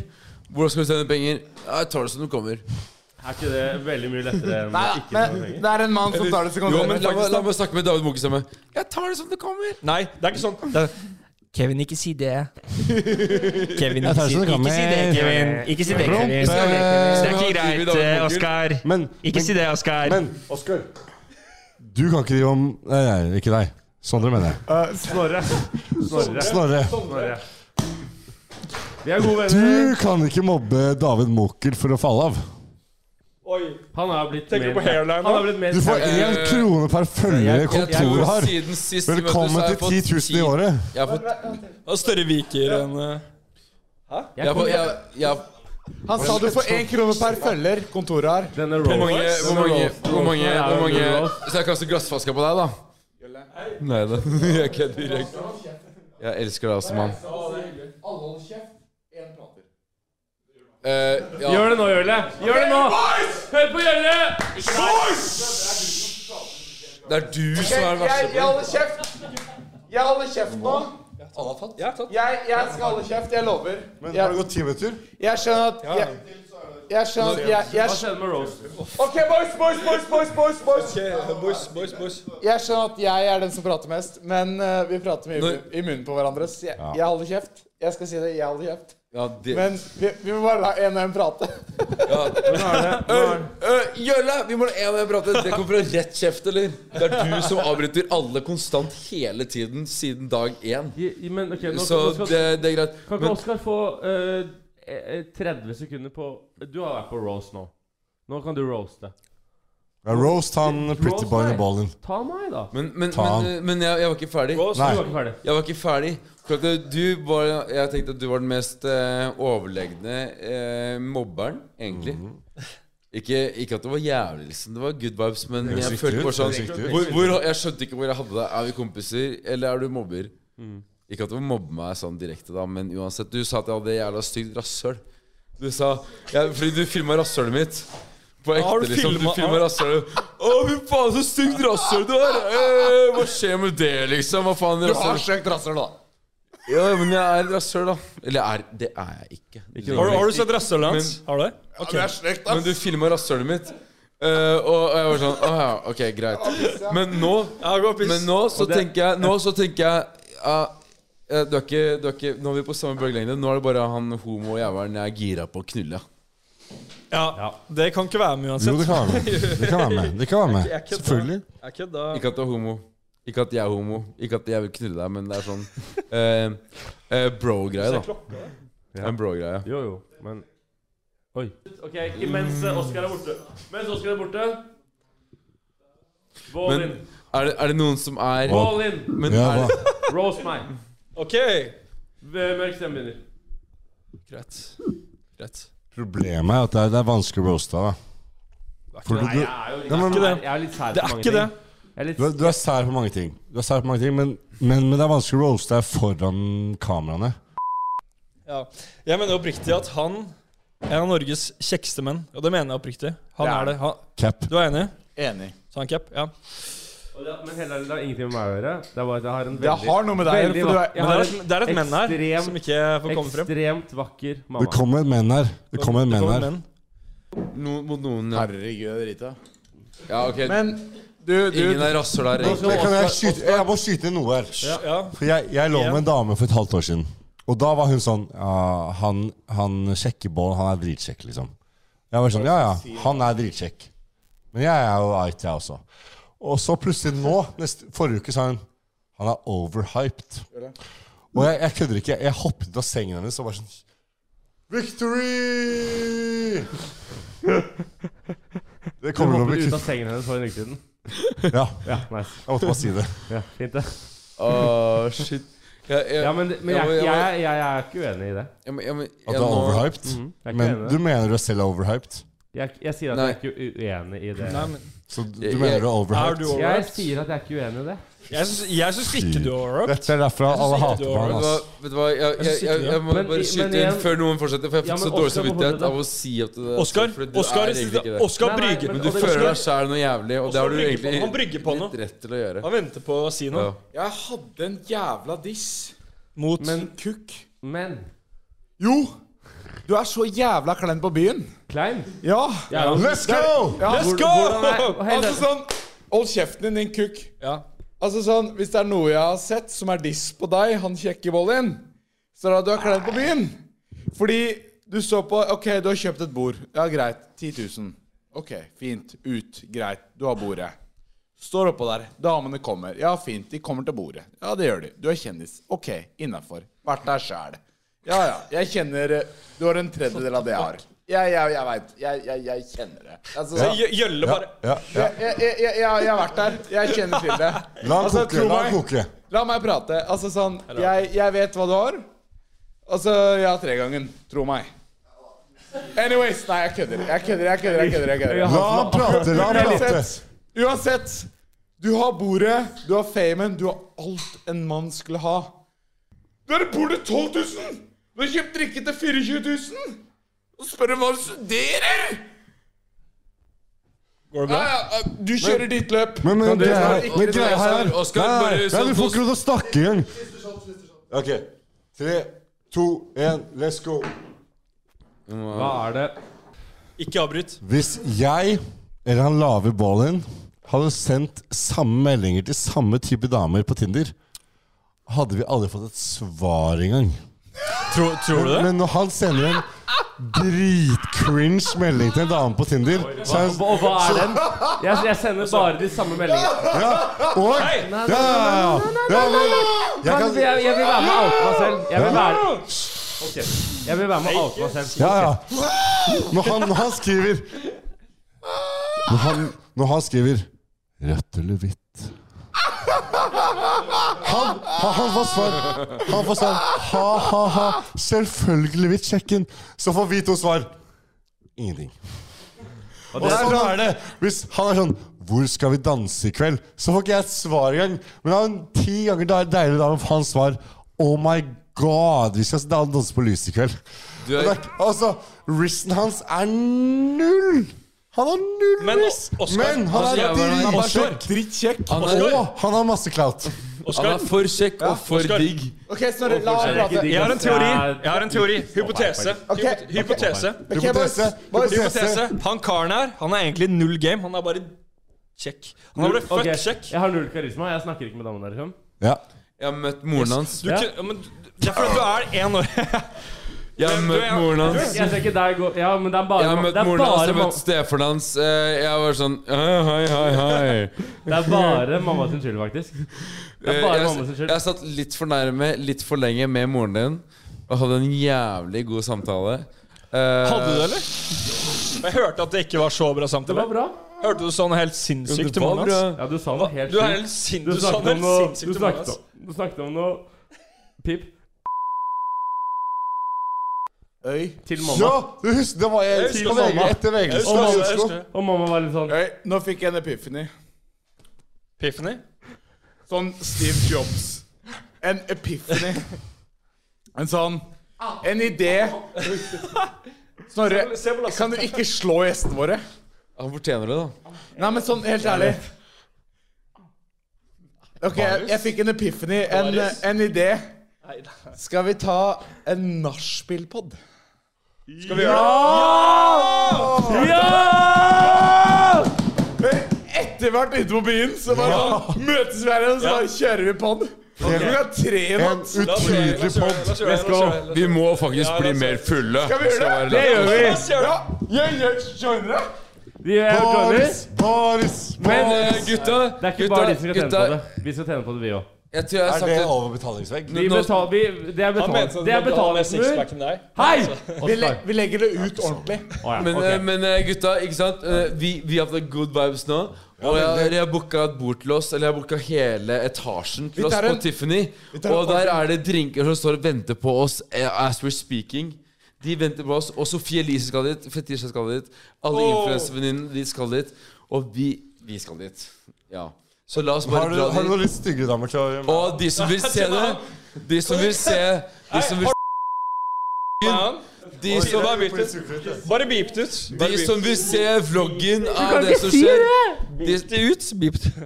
Hvordan skal du tjene penger? Ja, Jeg tar det som det kommer. Er ikke det veldig mye lettere enn Nei, å ikke men ta penger? det er en mann som tar det som Jo, kommer. men la, meg- la meg snakke med David Mokel sammen. Jeg tar det som det kommer. Nei, det er ikke sånn. Det er, Kevin, ikke si det. Kevin, Jeg ikke tar si, ikke si sånn det det, kommer. Kevin. Ikke si det, Kevin. Det er ikke greit, eh, Oskar. Men, Ikke si det, Oskar. men Oskar. Du kan ikke drive om Nei, nei ikke deg. Sondre, mener jeg. Snorre. Snorre. Eh, Snorre. Snorre. Vi er gode venner. Du kan ikke mobbe David Mokel for å falle av. oi. Han har blitt Tenker du på hairline Han nå? har blitt mer Du får én Eh, krone per følger kontoret har. Siden sist vi møttes, Velkommen har jeg til fått 10 000 i året. Jeg har fått Det er større viker enn eh, jeg har, fått- jeg, jeg, Han sa du får én krone per følger. Kontoret her. Denne Hvor mange- rollen. hvor mange, hvor mange, hvor mange Så jeg kaster glassflaska på deg, da? Nei da. Jeg kødder. jeg kødder. Jeg elsker deg også, mann. Alle holder kjeft. Én prater. Eh, ja. Gjør det nå, Jølle! Gjør det nå! Hør på Jølle! Det er du som er den Jeg, jeg verste. holder kjeft. Jeg holder kjeft nå. Jeg, jeg skal holde kjeft. Jeg lover. Men har det Jeg, gått ti minutter? jeg skjønner at jeg, jeg skjønner at jeg, jeg, Hva skjedde med Rose? OK, boys, boys, boys, boys, boys, boys. Boys, boys, boys. Jeg skjønner at jeg er den som prater mest, men eh, vi prater mye i Når- i munnen på hverandre. Så jeg, jeg holder kjeft. Jeg skal si det. Jeg holder kjeft. Ja, det, Men vi, vi må bare la en og en prate. ja. Øh, Jølle, vi må en gang prate. Det kommer fra rett kjeft, eller? Det er du som avbryter alle konstant hele tiden siden dag én. Men ok, nå, Så nå skal det, det er greit. Kan ikke Men Oskar få eh, eh, 30 sekunder på Du har vært på roast nå. Nå kan du roaste. Ja, roast han pretty boy Roast med meg. ballen. Ta meg, da. men, men, Ta men, eh, men jeg, jeg var ikke ferdig. Roast, Nei. du var ikke ferdig. Jeg var ikke ferdig. For at Du var, jeg tenkte at du var den mest eh, overlegne eh, mobberen, egentlig. Ikke, ikke at det var jævlig, liksom. Det var good vibes, men høres jeg riktig følte ut, bare Mhm. det høres riktig sånn ut. hvor, hvor, Jeg skjønte ikke hvor jeg hadde deg. Er vi kompiser, eller er du mobber? Mm. Ikke at du mobber meg sånn direkte, da, men uansett. Du sa at jeg hadde jævla stygt rasshøl. Du sa jeg, Fordi du filma rasshølet mitt. På ekte, Har du liksom. filmet- Du filma rasshølet. Å, fy faen, så stygt rasshøl du har! Eh, hva skjer med det, liksom? Hva faen? Du rasshøl? har søkt rasshøl, da. Ja, men jeg er et rasshøl, da. Eller er, det er jeg ikke. Har, du- har du sett rasshølet hans? Har du det? Ja, det er slekt, Men du filma rasshølet mitt, eh, og jeg var sånn Å ja, ok, greit. Men nå, men nå så tenker jeg Nå så tenker jeg ja, eh, du er ikke, du er ikke Nå er vi på samme bølgelengde. Nå er det bare han homo-jævelen jeg er gira på å knulle. Ja. Det kan ikke være med Jo, uansett. det kan være med. Det kan være med. Det kan være med. Altså, Jeg sånn. kødder. Selvfølgelig. Jeg kødda. Ikke at du er homo. Ikke at jeg er homo. Ikke at jeg vil knulle deg, men det er sånn eh, eh, bro-greie, da. Det er En bro-greie. Jo, jo, men Oi. Ok, ikke mens eh, Oscar er borte. Mens Oscar er borte Bål Men inn. er det, er det noen som er Bål inn. Men Ja, er det, hva? Roast meg. Ok. V- Mørk stemme begynner. Greit. Greit. Problemet er at det er, det er vanskelig å roaste deg. da. For du, du, Jeg er jo Nei, men- litt, jeg er litt sær Det på er mange ikke det. ting. Jeg er litt du, er- du er sær på mange ting, Du er sær på mange ting men, men, men det er vanskelig å roaste deg foran kameraene. Ja. Jeg mener oppriktig at han er en av Norges kjekkeste menn. Og det mener jeg oppriktig. Han er det. Han, Cap. du er enig? Enig. Sa han cap? Ja. Og det- Men heller, det har ingenting med meg å gjøre. Det er bare at jeg har en Det veldig har noe med deg å gjøre, veldig for du vak- er jeg Men det har er et, det er et menn her ekstrem- som ikke får komme frem. Ekstremt vakker Det mamma. kommer et menn her. Det kommer et Det menn kommer her. menn. noen, mot noen ja. Herregud, Rita. ja, ok Men du, du Ingen er rasshøl her, egentlig. Men Kan jeg, skyte, jeg må skyte inn noe her. Ja. For jeg, jeg lå Ja. med en dame for et halvt år siden. Og da var hun sånn ja, Han, han sjekker bål, han er dritkjekk, liksom. Jeg var sånn, ja ja, han er dritkjekk. Men jeg er jo out, jeg også. Og så plutselig nå, neste, forrige uke, sa hun han er overhyped. Og jeg, jeg kødder ikke. Jeg hoppet ut av sengen hennes og var sånn Victory! Det Du kommer til å bli hoppet ut av kutt. sengen hennes for en uke siden. Ja, Ja, nice. jeg måtte bare si det. Ja, fint, det. Åh, shit. Jeg, jeg, Ja, men, men jeg jeg, må- jeg, jeg må- jeg, jeg er ikke uenig i det. jeg, må- jeg, må- At jeg du er må- overhyped. Mhm, jeg er ikke Mm. Men enig i du det. mener du er selv er overhyped? Jeg, jeg sier at jeg er ikke uenig i det. Nei, men Så du Jeg- mener jeg- du er er overhyped? du Jeg overalt? sier at jeg er ikke uenig i det. Jeg syns- jeg syns ikke du er overalt. Dette er derfra Jeg synes alle ikke hater du på han, har Vet du hva, ass. vet du hva jeg, jeg, synes ikke jeg, det. jeg må Men- bare men skyte igjen- inn før noen fortsetter, for jeg Ja, fikk men så dårlig Oscar må samvittighet fortsette. av å si at du er Oskar fordi du Oskar, er egentlig ikke det. Oskar Nei, nei, Brygge. men- Du Oskar- føler deg sjæl noe jævlig, og det har du brygger på- egentlig han brygger på litt noe. rett til å gjøre. Han venter på å si noe. Ja. Jeg hadde en jævla diss Mot Men, kukk. men Jo! Du er så jævla klein på byen. Klein? Ja. Ja, Let's go! ja. Let's go! Hvordan er- hei, Altså sånn Hold kjeften din, din kukk. Ja. Altså sånn, Hvis det er noe jeg har sett som er diss på deg, han kjekke volleyen, så er det at du er klein på byen. Fordi du så på OK, du har kjøpt et bord. Ja, greit. 10 000. OK, fint. Ut. Greit. Du har bordet. Står oppå der. Damene kommer. Ja, fint. De kommer til bordet. Ja, det gjør de. Du er kjendis. OK, innafor. Vært der sjæl. Ja, ja. Jeg kjenner eh, Du har en tredjedel av det jeg har. Ja, ja, jeg veit. Jeg, jeg, jeg kjenner det. Altså, Så Gjø- Ja, Gjølle bare ja, ja. jeg, jeg, jeg, jeg, jeg har vært der. Jeg kjenner til det. La han Altså, koke. tro La han meg. koke. La meg prate. Altså sånn Jeg, jeg vet hva du har. Altså, ja, tregangen. Tro meg. Anyways, nei, jeg kødder. Jeg kødder, jeg kødder. jeg kødder, jeg kødder. La han prate, la han prate. Uansett, uansett. Du har bordet, du har famen, du har alt en mann skulle ha. Dere bor til 12 000! Dere kjøpt drikke til 24 000! Og spør om hva du studerer! Går det Ja, bra? ja, du kjører ditt løp. Men, men, greia her- ikke men det greia der, her Oskar? Oskar, bare Nei, nei, sånn- du får ikke lov til å snakke engang. Ok. Tre, to, én, let's go. Hva er det? Ikke avbryt. Hvis jeg eller han lave ballen hadde sendt samme meldinger til samme type damer på Tinder, hadde vi aldri fått et svar engang. Tror, tror du det? Men når han sender en dritcringe melding til en dame på Tinder så er Og, og hva er den? Jeg, jeg sender bare de samme meldingene. ja, Og Ja, ja, ja. ja, men- jeg Kan, kan- jeg, jeg vil være med og oute meg selv. Jeg vil være Ok, Jeg vil være med og oute meg selv. Ja, ja. Når han, når han skriver når han, når han skriver Rødt eller hvitt han, han, han får svar. Han får svar. Ha, ha, ha. Selvfølgelig hvitt sjekken. Så får vi to svar. Ingenting. Og sånn er det. Hvis han er sånn 'Hvor skal vi danse i kveld?' Så får ikke jeg et svar engang. Men han har ti ganger da- deilig da får han svar 'Oh my God, vi skal danse på lyset i kveld'. Du er- Og det er ikke- altså, Risten hans er null! Han har null Men, risk! Oscar, Men han altså, er jeg var- han var dritkjekk. så Drittkjekk. Han, er- Og han har masse clout. han Oskar, er for kjekk og for Oskar. digg. Ok, Snorre, la han Jeg er ikke prate. digg, jeg har en ass. teori. Jeg er- Jeg har en teori. Hypotese. Ok, Hypo- ok. Hypotese. Ok, boys, Hypotese. boys. Hypotese. Han karen her, han er egentlig null game. Han er bare kjekk. Han er bare Ok, fuck kjekk. Jeg har null karisma. Jeg snakker ikke med damene der. Liksom. Ja. Jeg har møtt moren hans. Du, Ja. kun- ja, men det er fordi du er én år Jeg har Men du møtt er- moren hans. Jeg ser ikke deg gå Ja, men det er bare Jeg har det møtt er moren hans, jeg bare har mamma- møtt stefaren hans. Eh, Jeg var sånn Hei, hei, hei. Eh, hei. Det er bare mamma sin skyld, faktisk. Det er Eh, bare Jeg, mamma sin skyld. jeg satt litt for nærme, litt for lenge med moren din og hadde en jævlig god samtale. Eh, Hadde du det, eller? Jeg hørte at det ikke var så bra Det var samtale. bra. Hørte du sånn helt sinnssykt til moren hans? Ja, du sa noe helt Du er sjukt. helt sin- Du du sa snakket noe om helt noe sinnssykt Du til altså. moren snakket hans. om, du snakket om noe Pip Øy. til ja, mamma. du husker det var jeg husker på mamma. VG etter VG. Jeg husker det, jeg husker det. Og mamma var litt sånn Øy, nå fikk jeg en epiphany. Piffany? Sånn Steve Jobs. En epiphany. En sånn En idé. Snorre, kan du ikke slå gjestene våre? Han fortjener det, da. Nei, men sånn, helt ærlig Ok, jeg, jeg fikk en epiphany, en, Baris? en idé Skal vi ta en narspillpodd? Skal vi gjøre det? Ja! Etter hvert ute på byen Så bare sånn, møtes vi her igjen, Så bare kjører vi podd Klokka tre i En natt utydelig pod. Vi må faktisk bli mer fulle. Skal vi gjøre det? Det gjør vi. Ja, jeg gjør skjønner det De er Baris, Johnny. baris, Men baris. eh, gutta, Det er ikke gutta, bare de som skal tjene gutta på det. Vi skal tjene på det, vi òg. Jeg tror jeg har Er sagt det det. over betalingsvegg? De nå- betal, vi, det er sånn betalt. Det er betalingsmur. Hei! vi, le vi legger det ut ordentlig Å, ja, Men, ok. eh, men eh, gutta, ikke sant? Eh, Vi, vi har fått good vibes nå. Og jeg, eller jeg booka et bord til oss, eller jeg booka hele etasjen Vi til oss tar på en- Tiffany. tar en Og der ordentlig- er det drinker som står og venter på oss eh, as we're speaking. De venter på oss. Og Sofie Elise skal dit. Fetisha skal dit. Alle oh. influenservenninnene de skal dit. Og vi, vi skal dit. Ja. Så la oss Har bare du, dra har du dit. noen litt styggere damer til å gjøre med? Og de som vil se det De som vil se De som vil de som, Bare beep det ut. Bare beep det ut. Bare de beep. som vil se vloggen av det som skjer de,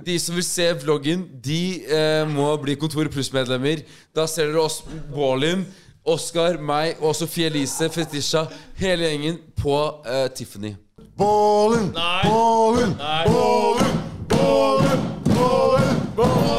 de som vil se vloggen, de eh, må bli Kontor Pluss-medlemmer. Da ser dere oss, Bålin, Oskar, meg og Sofie Elise, Fetisha, hele gjengen på eh, Tiffany. Bålen, bålen, bålen, bålen, bålen, bålen, bålen!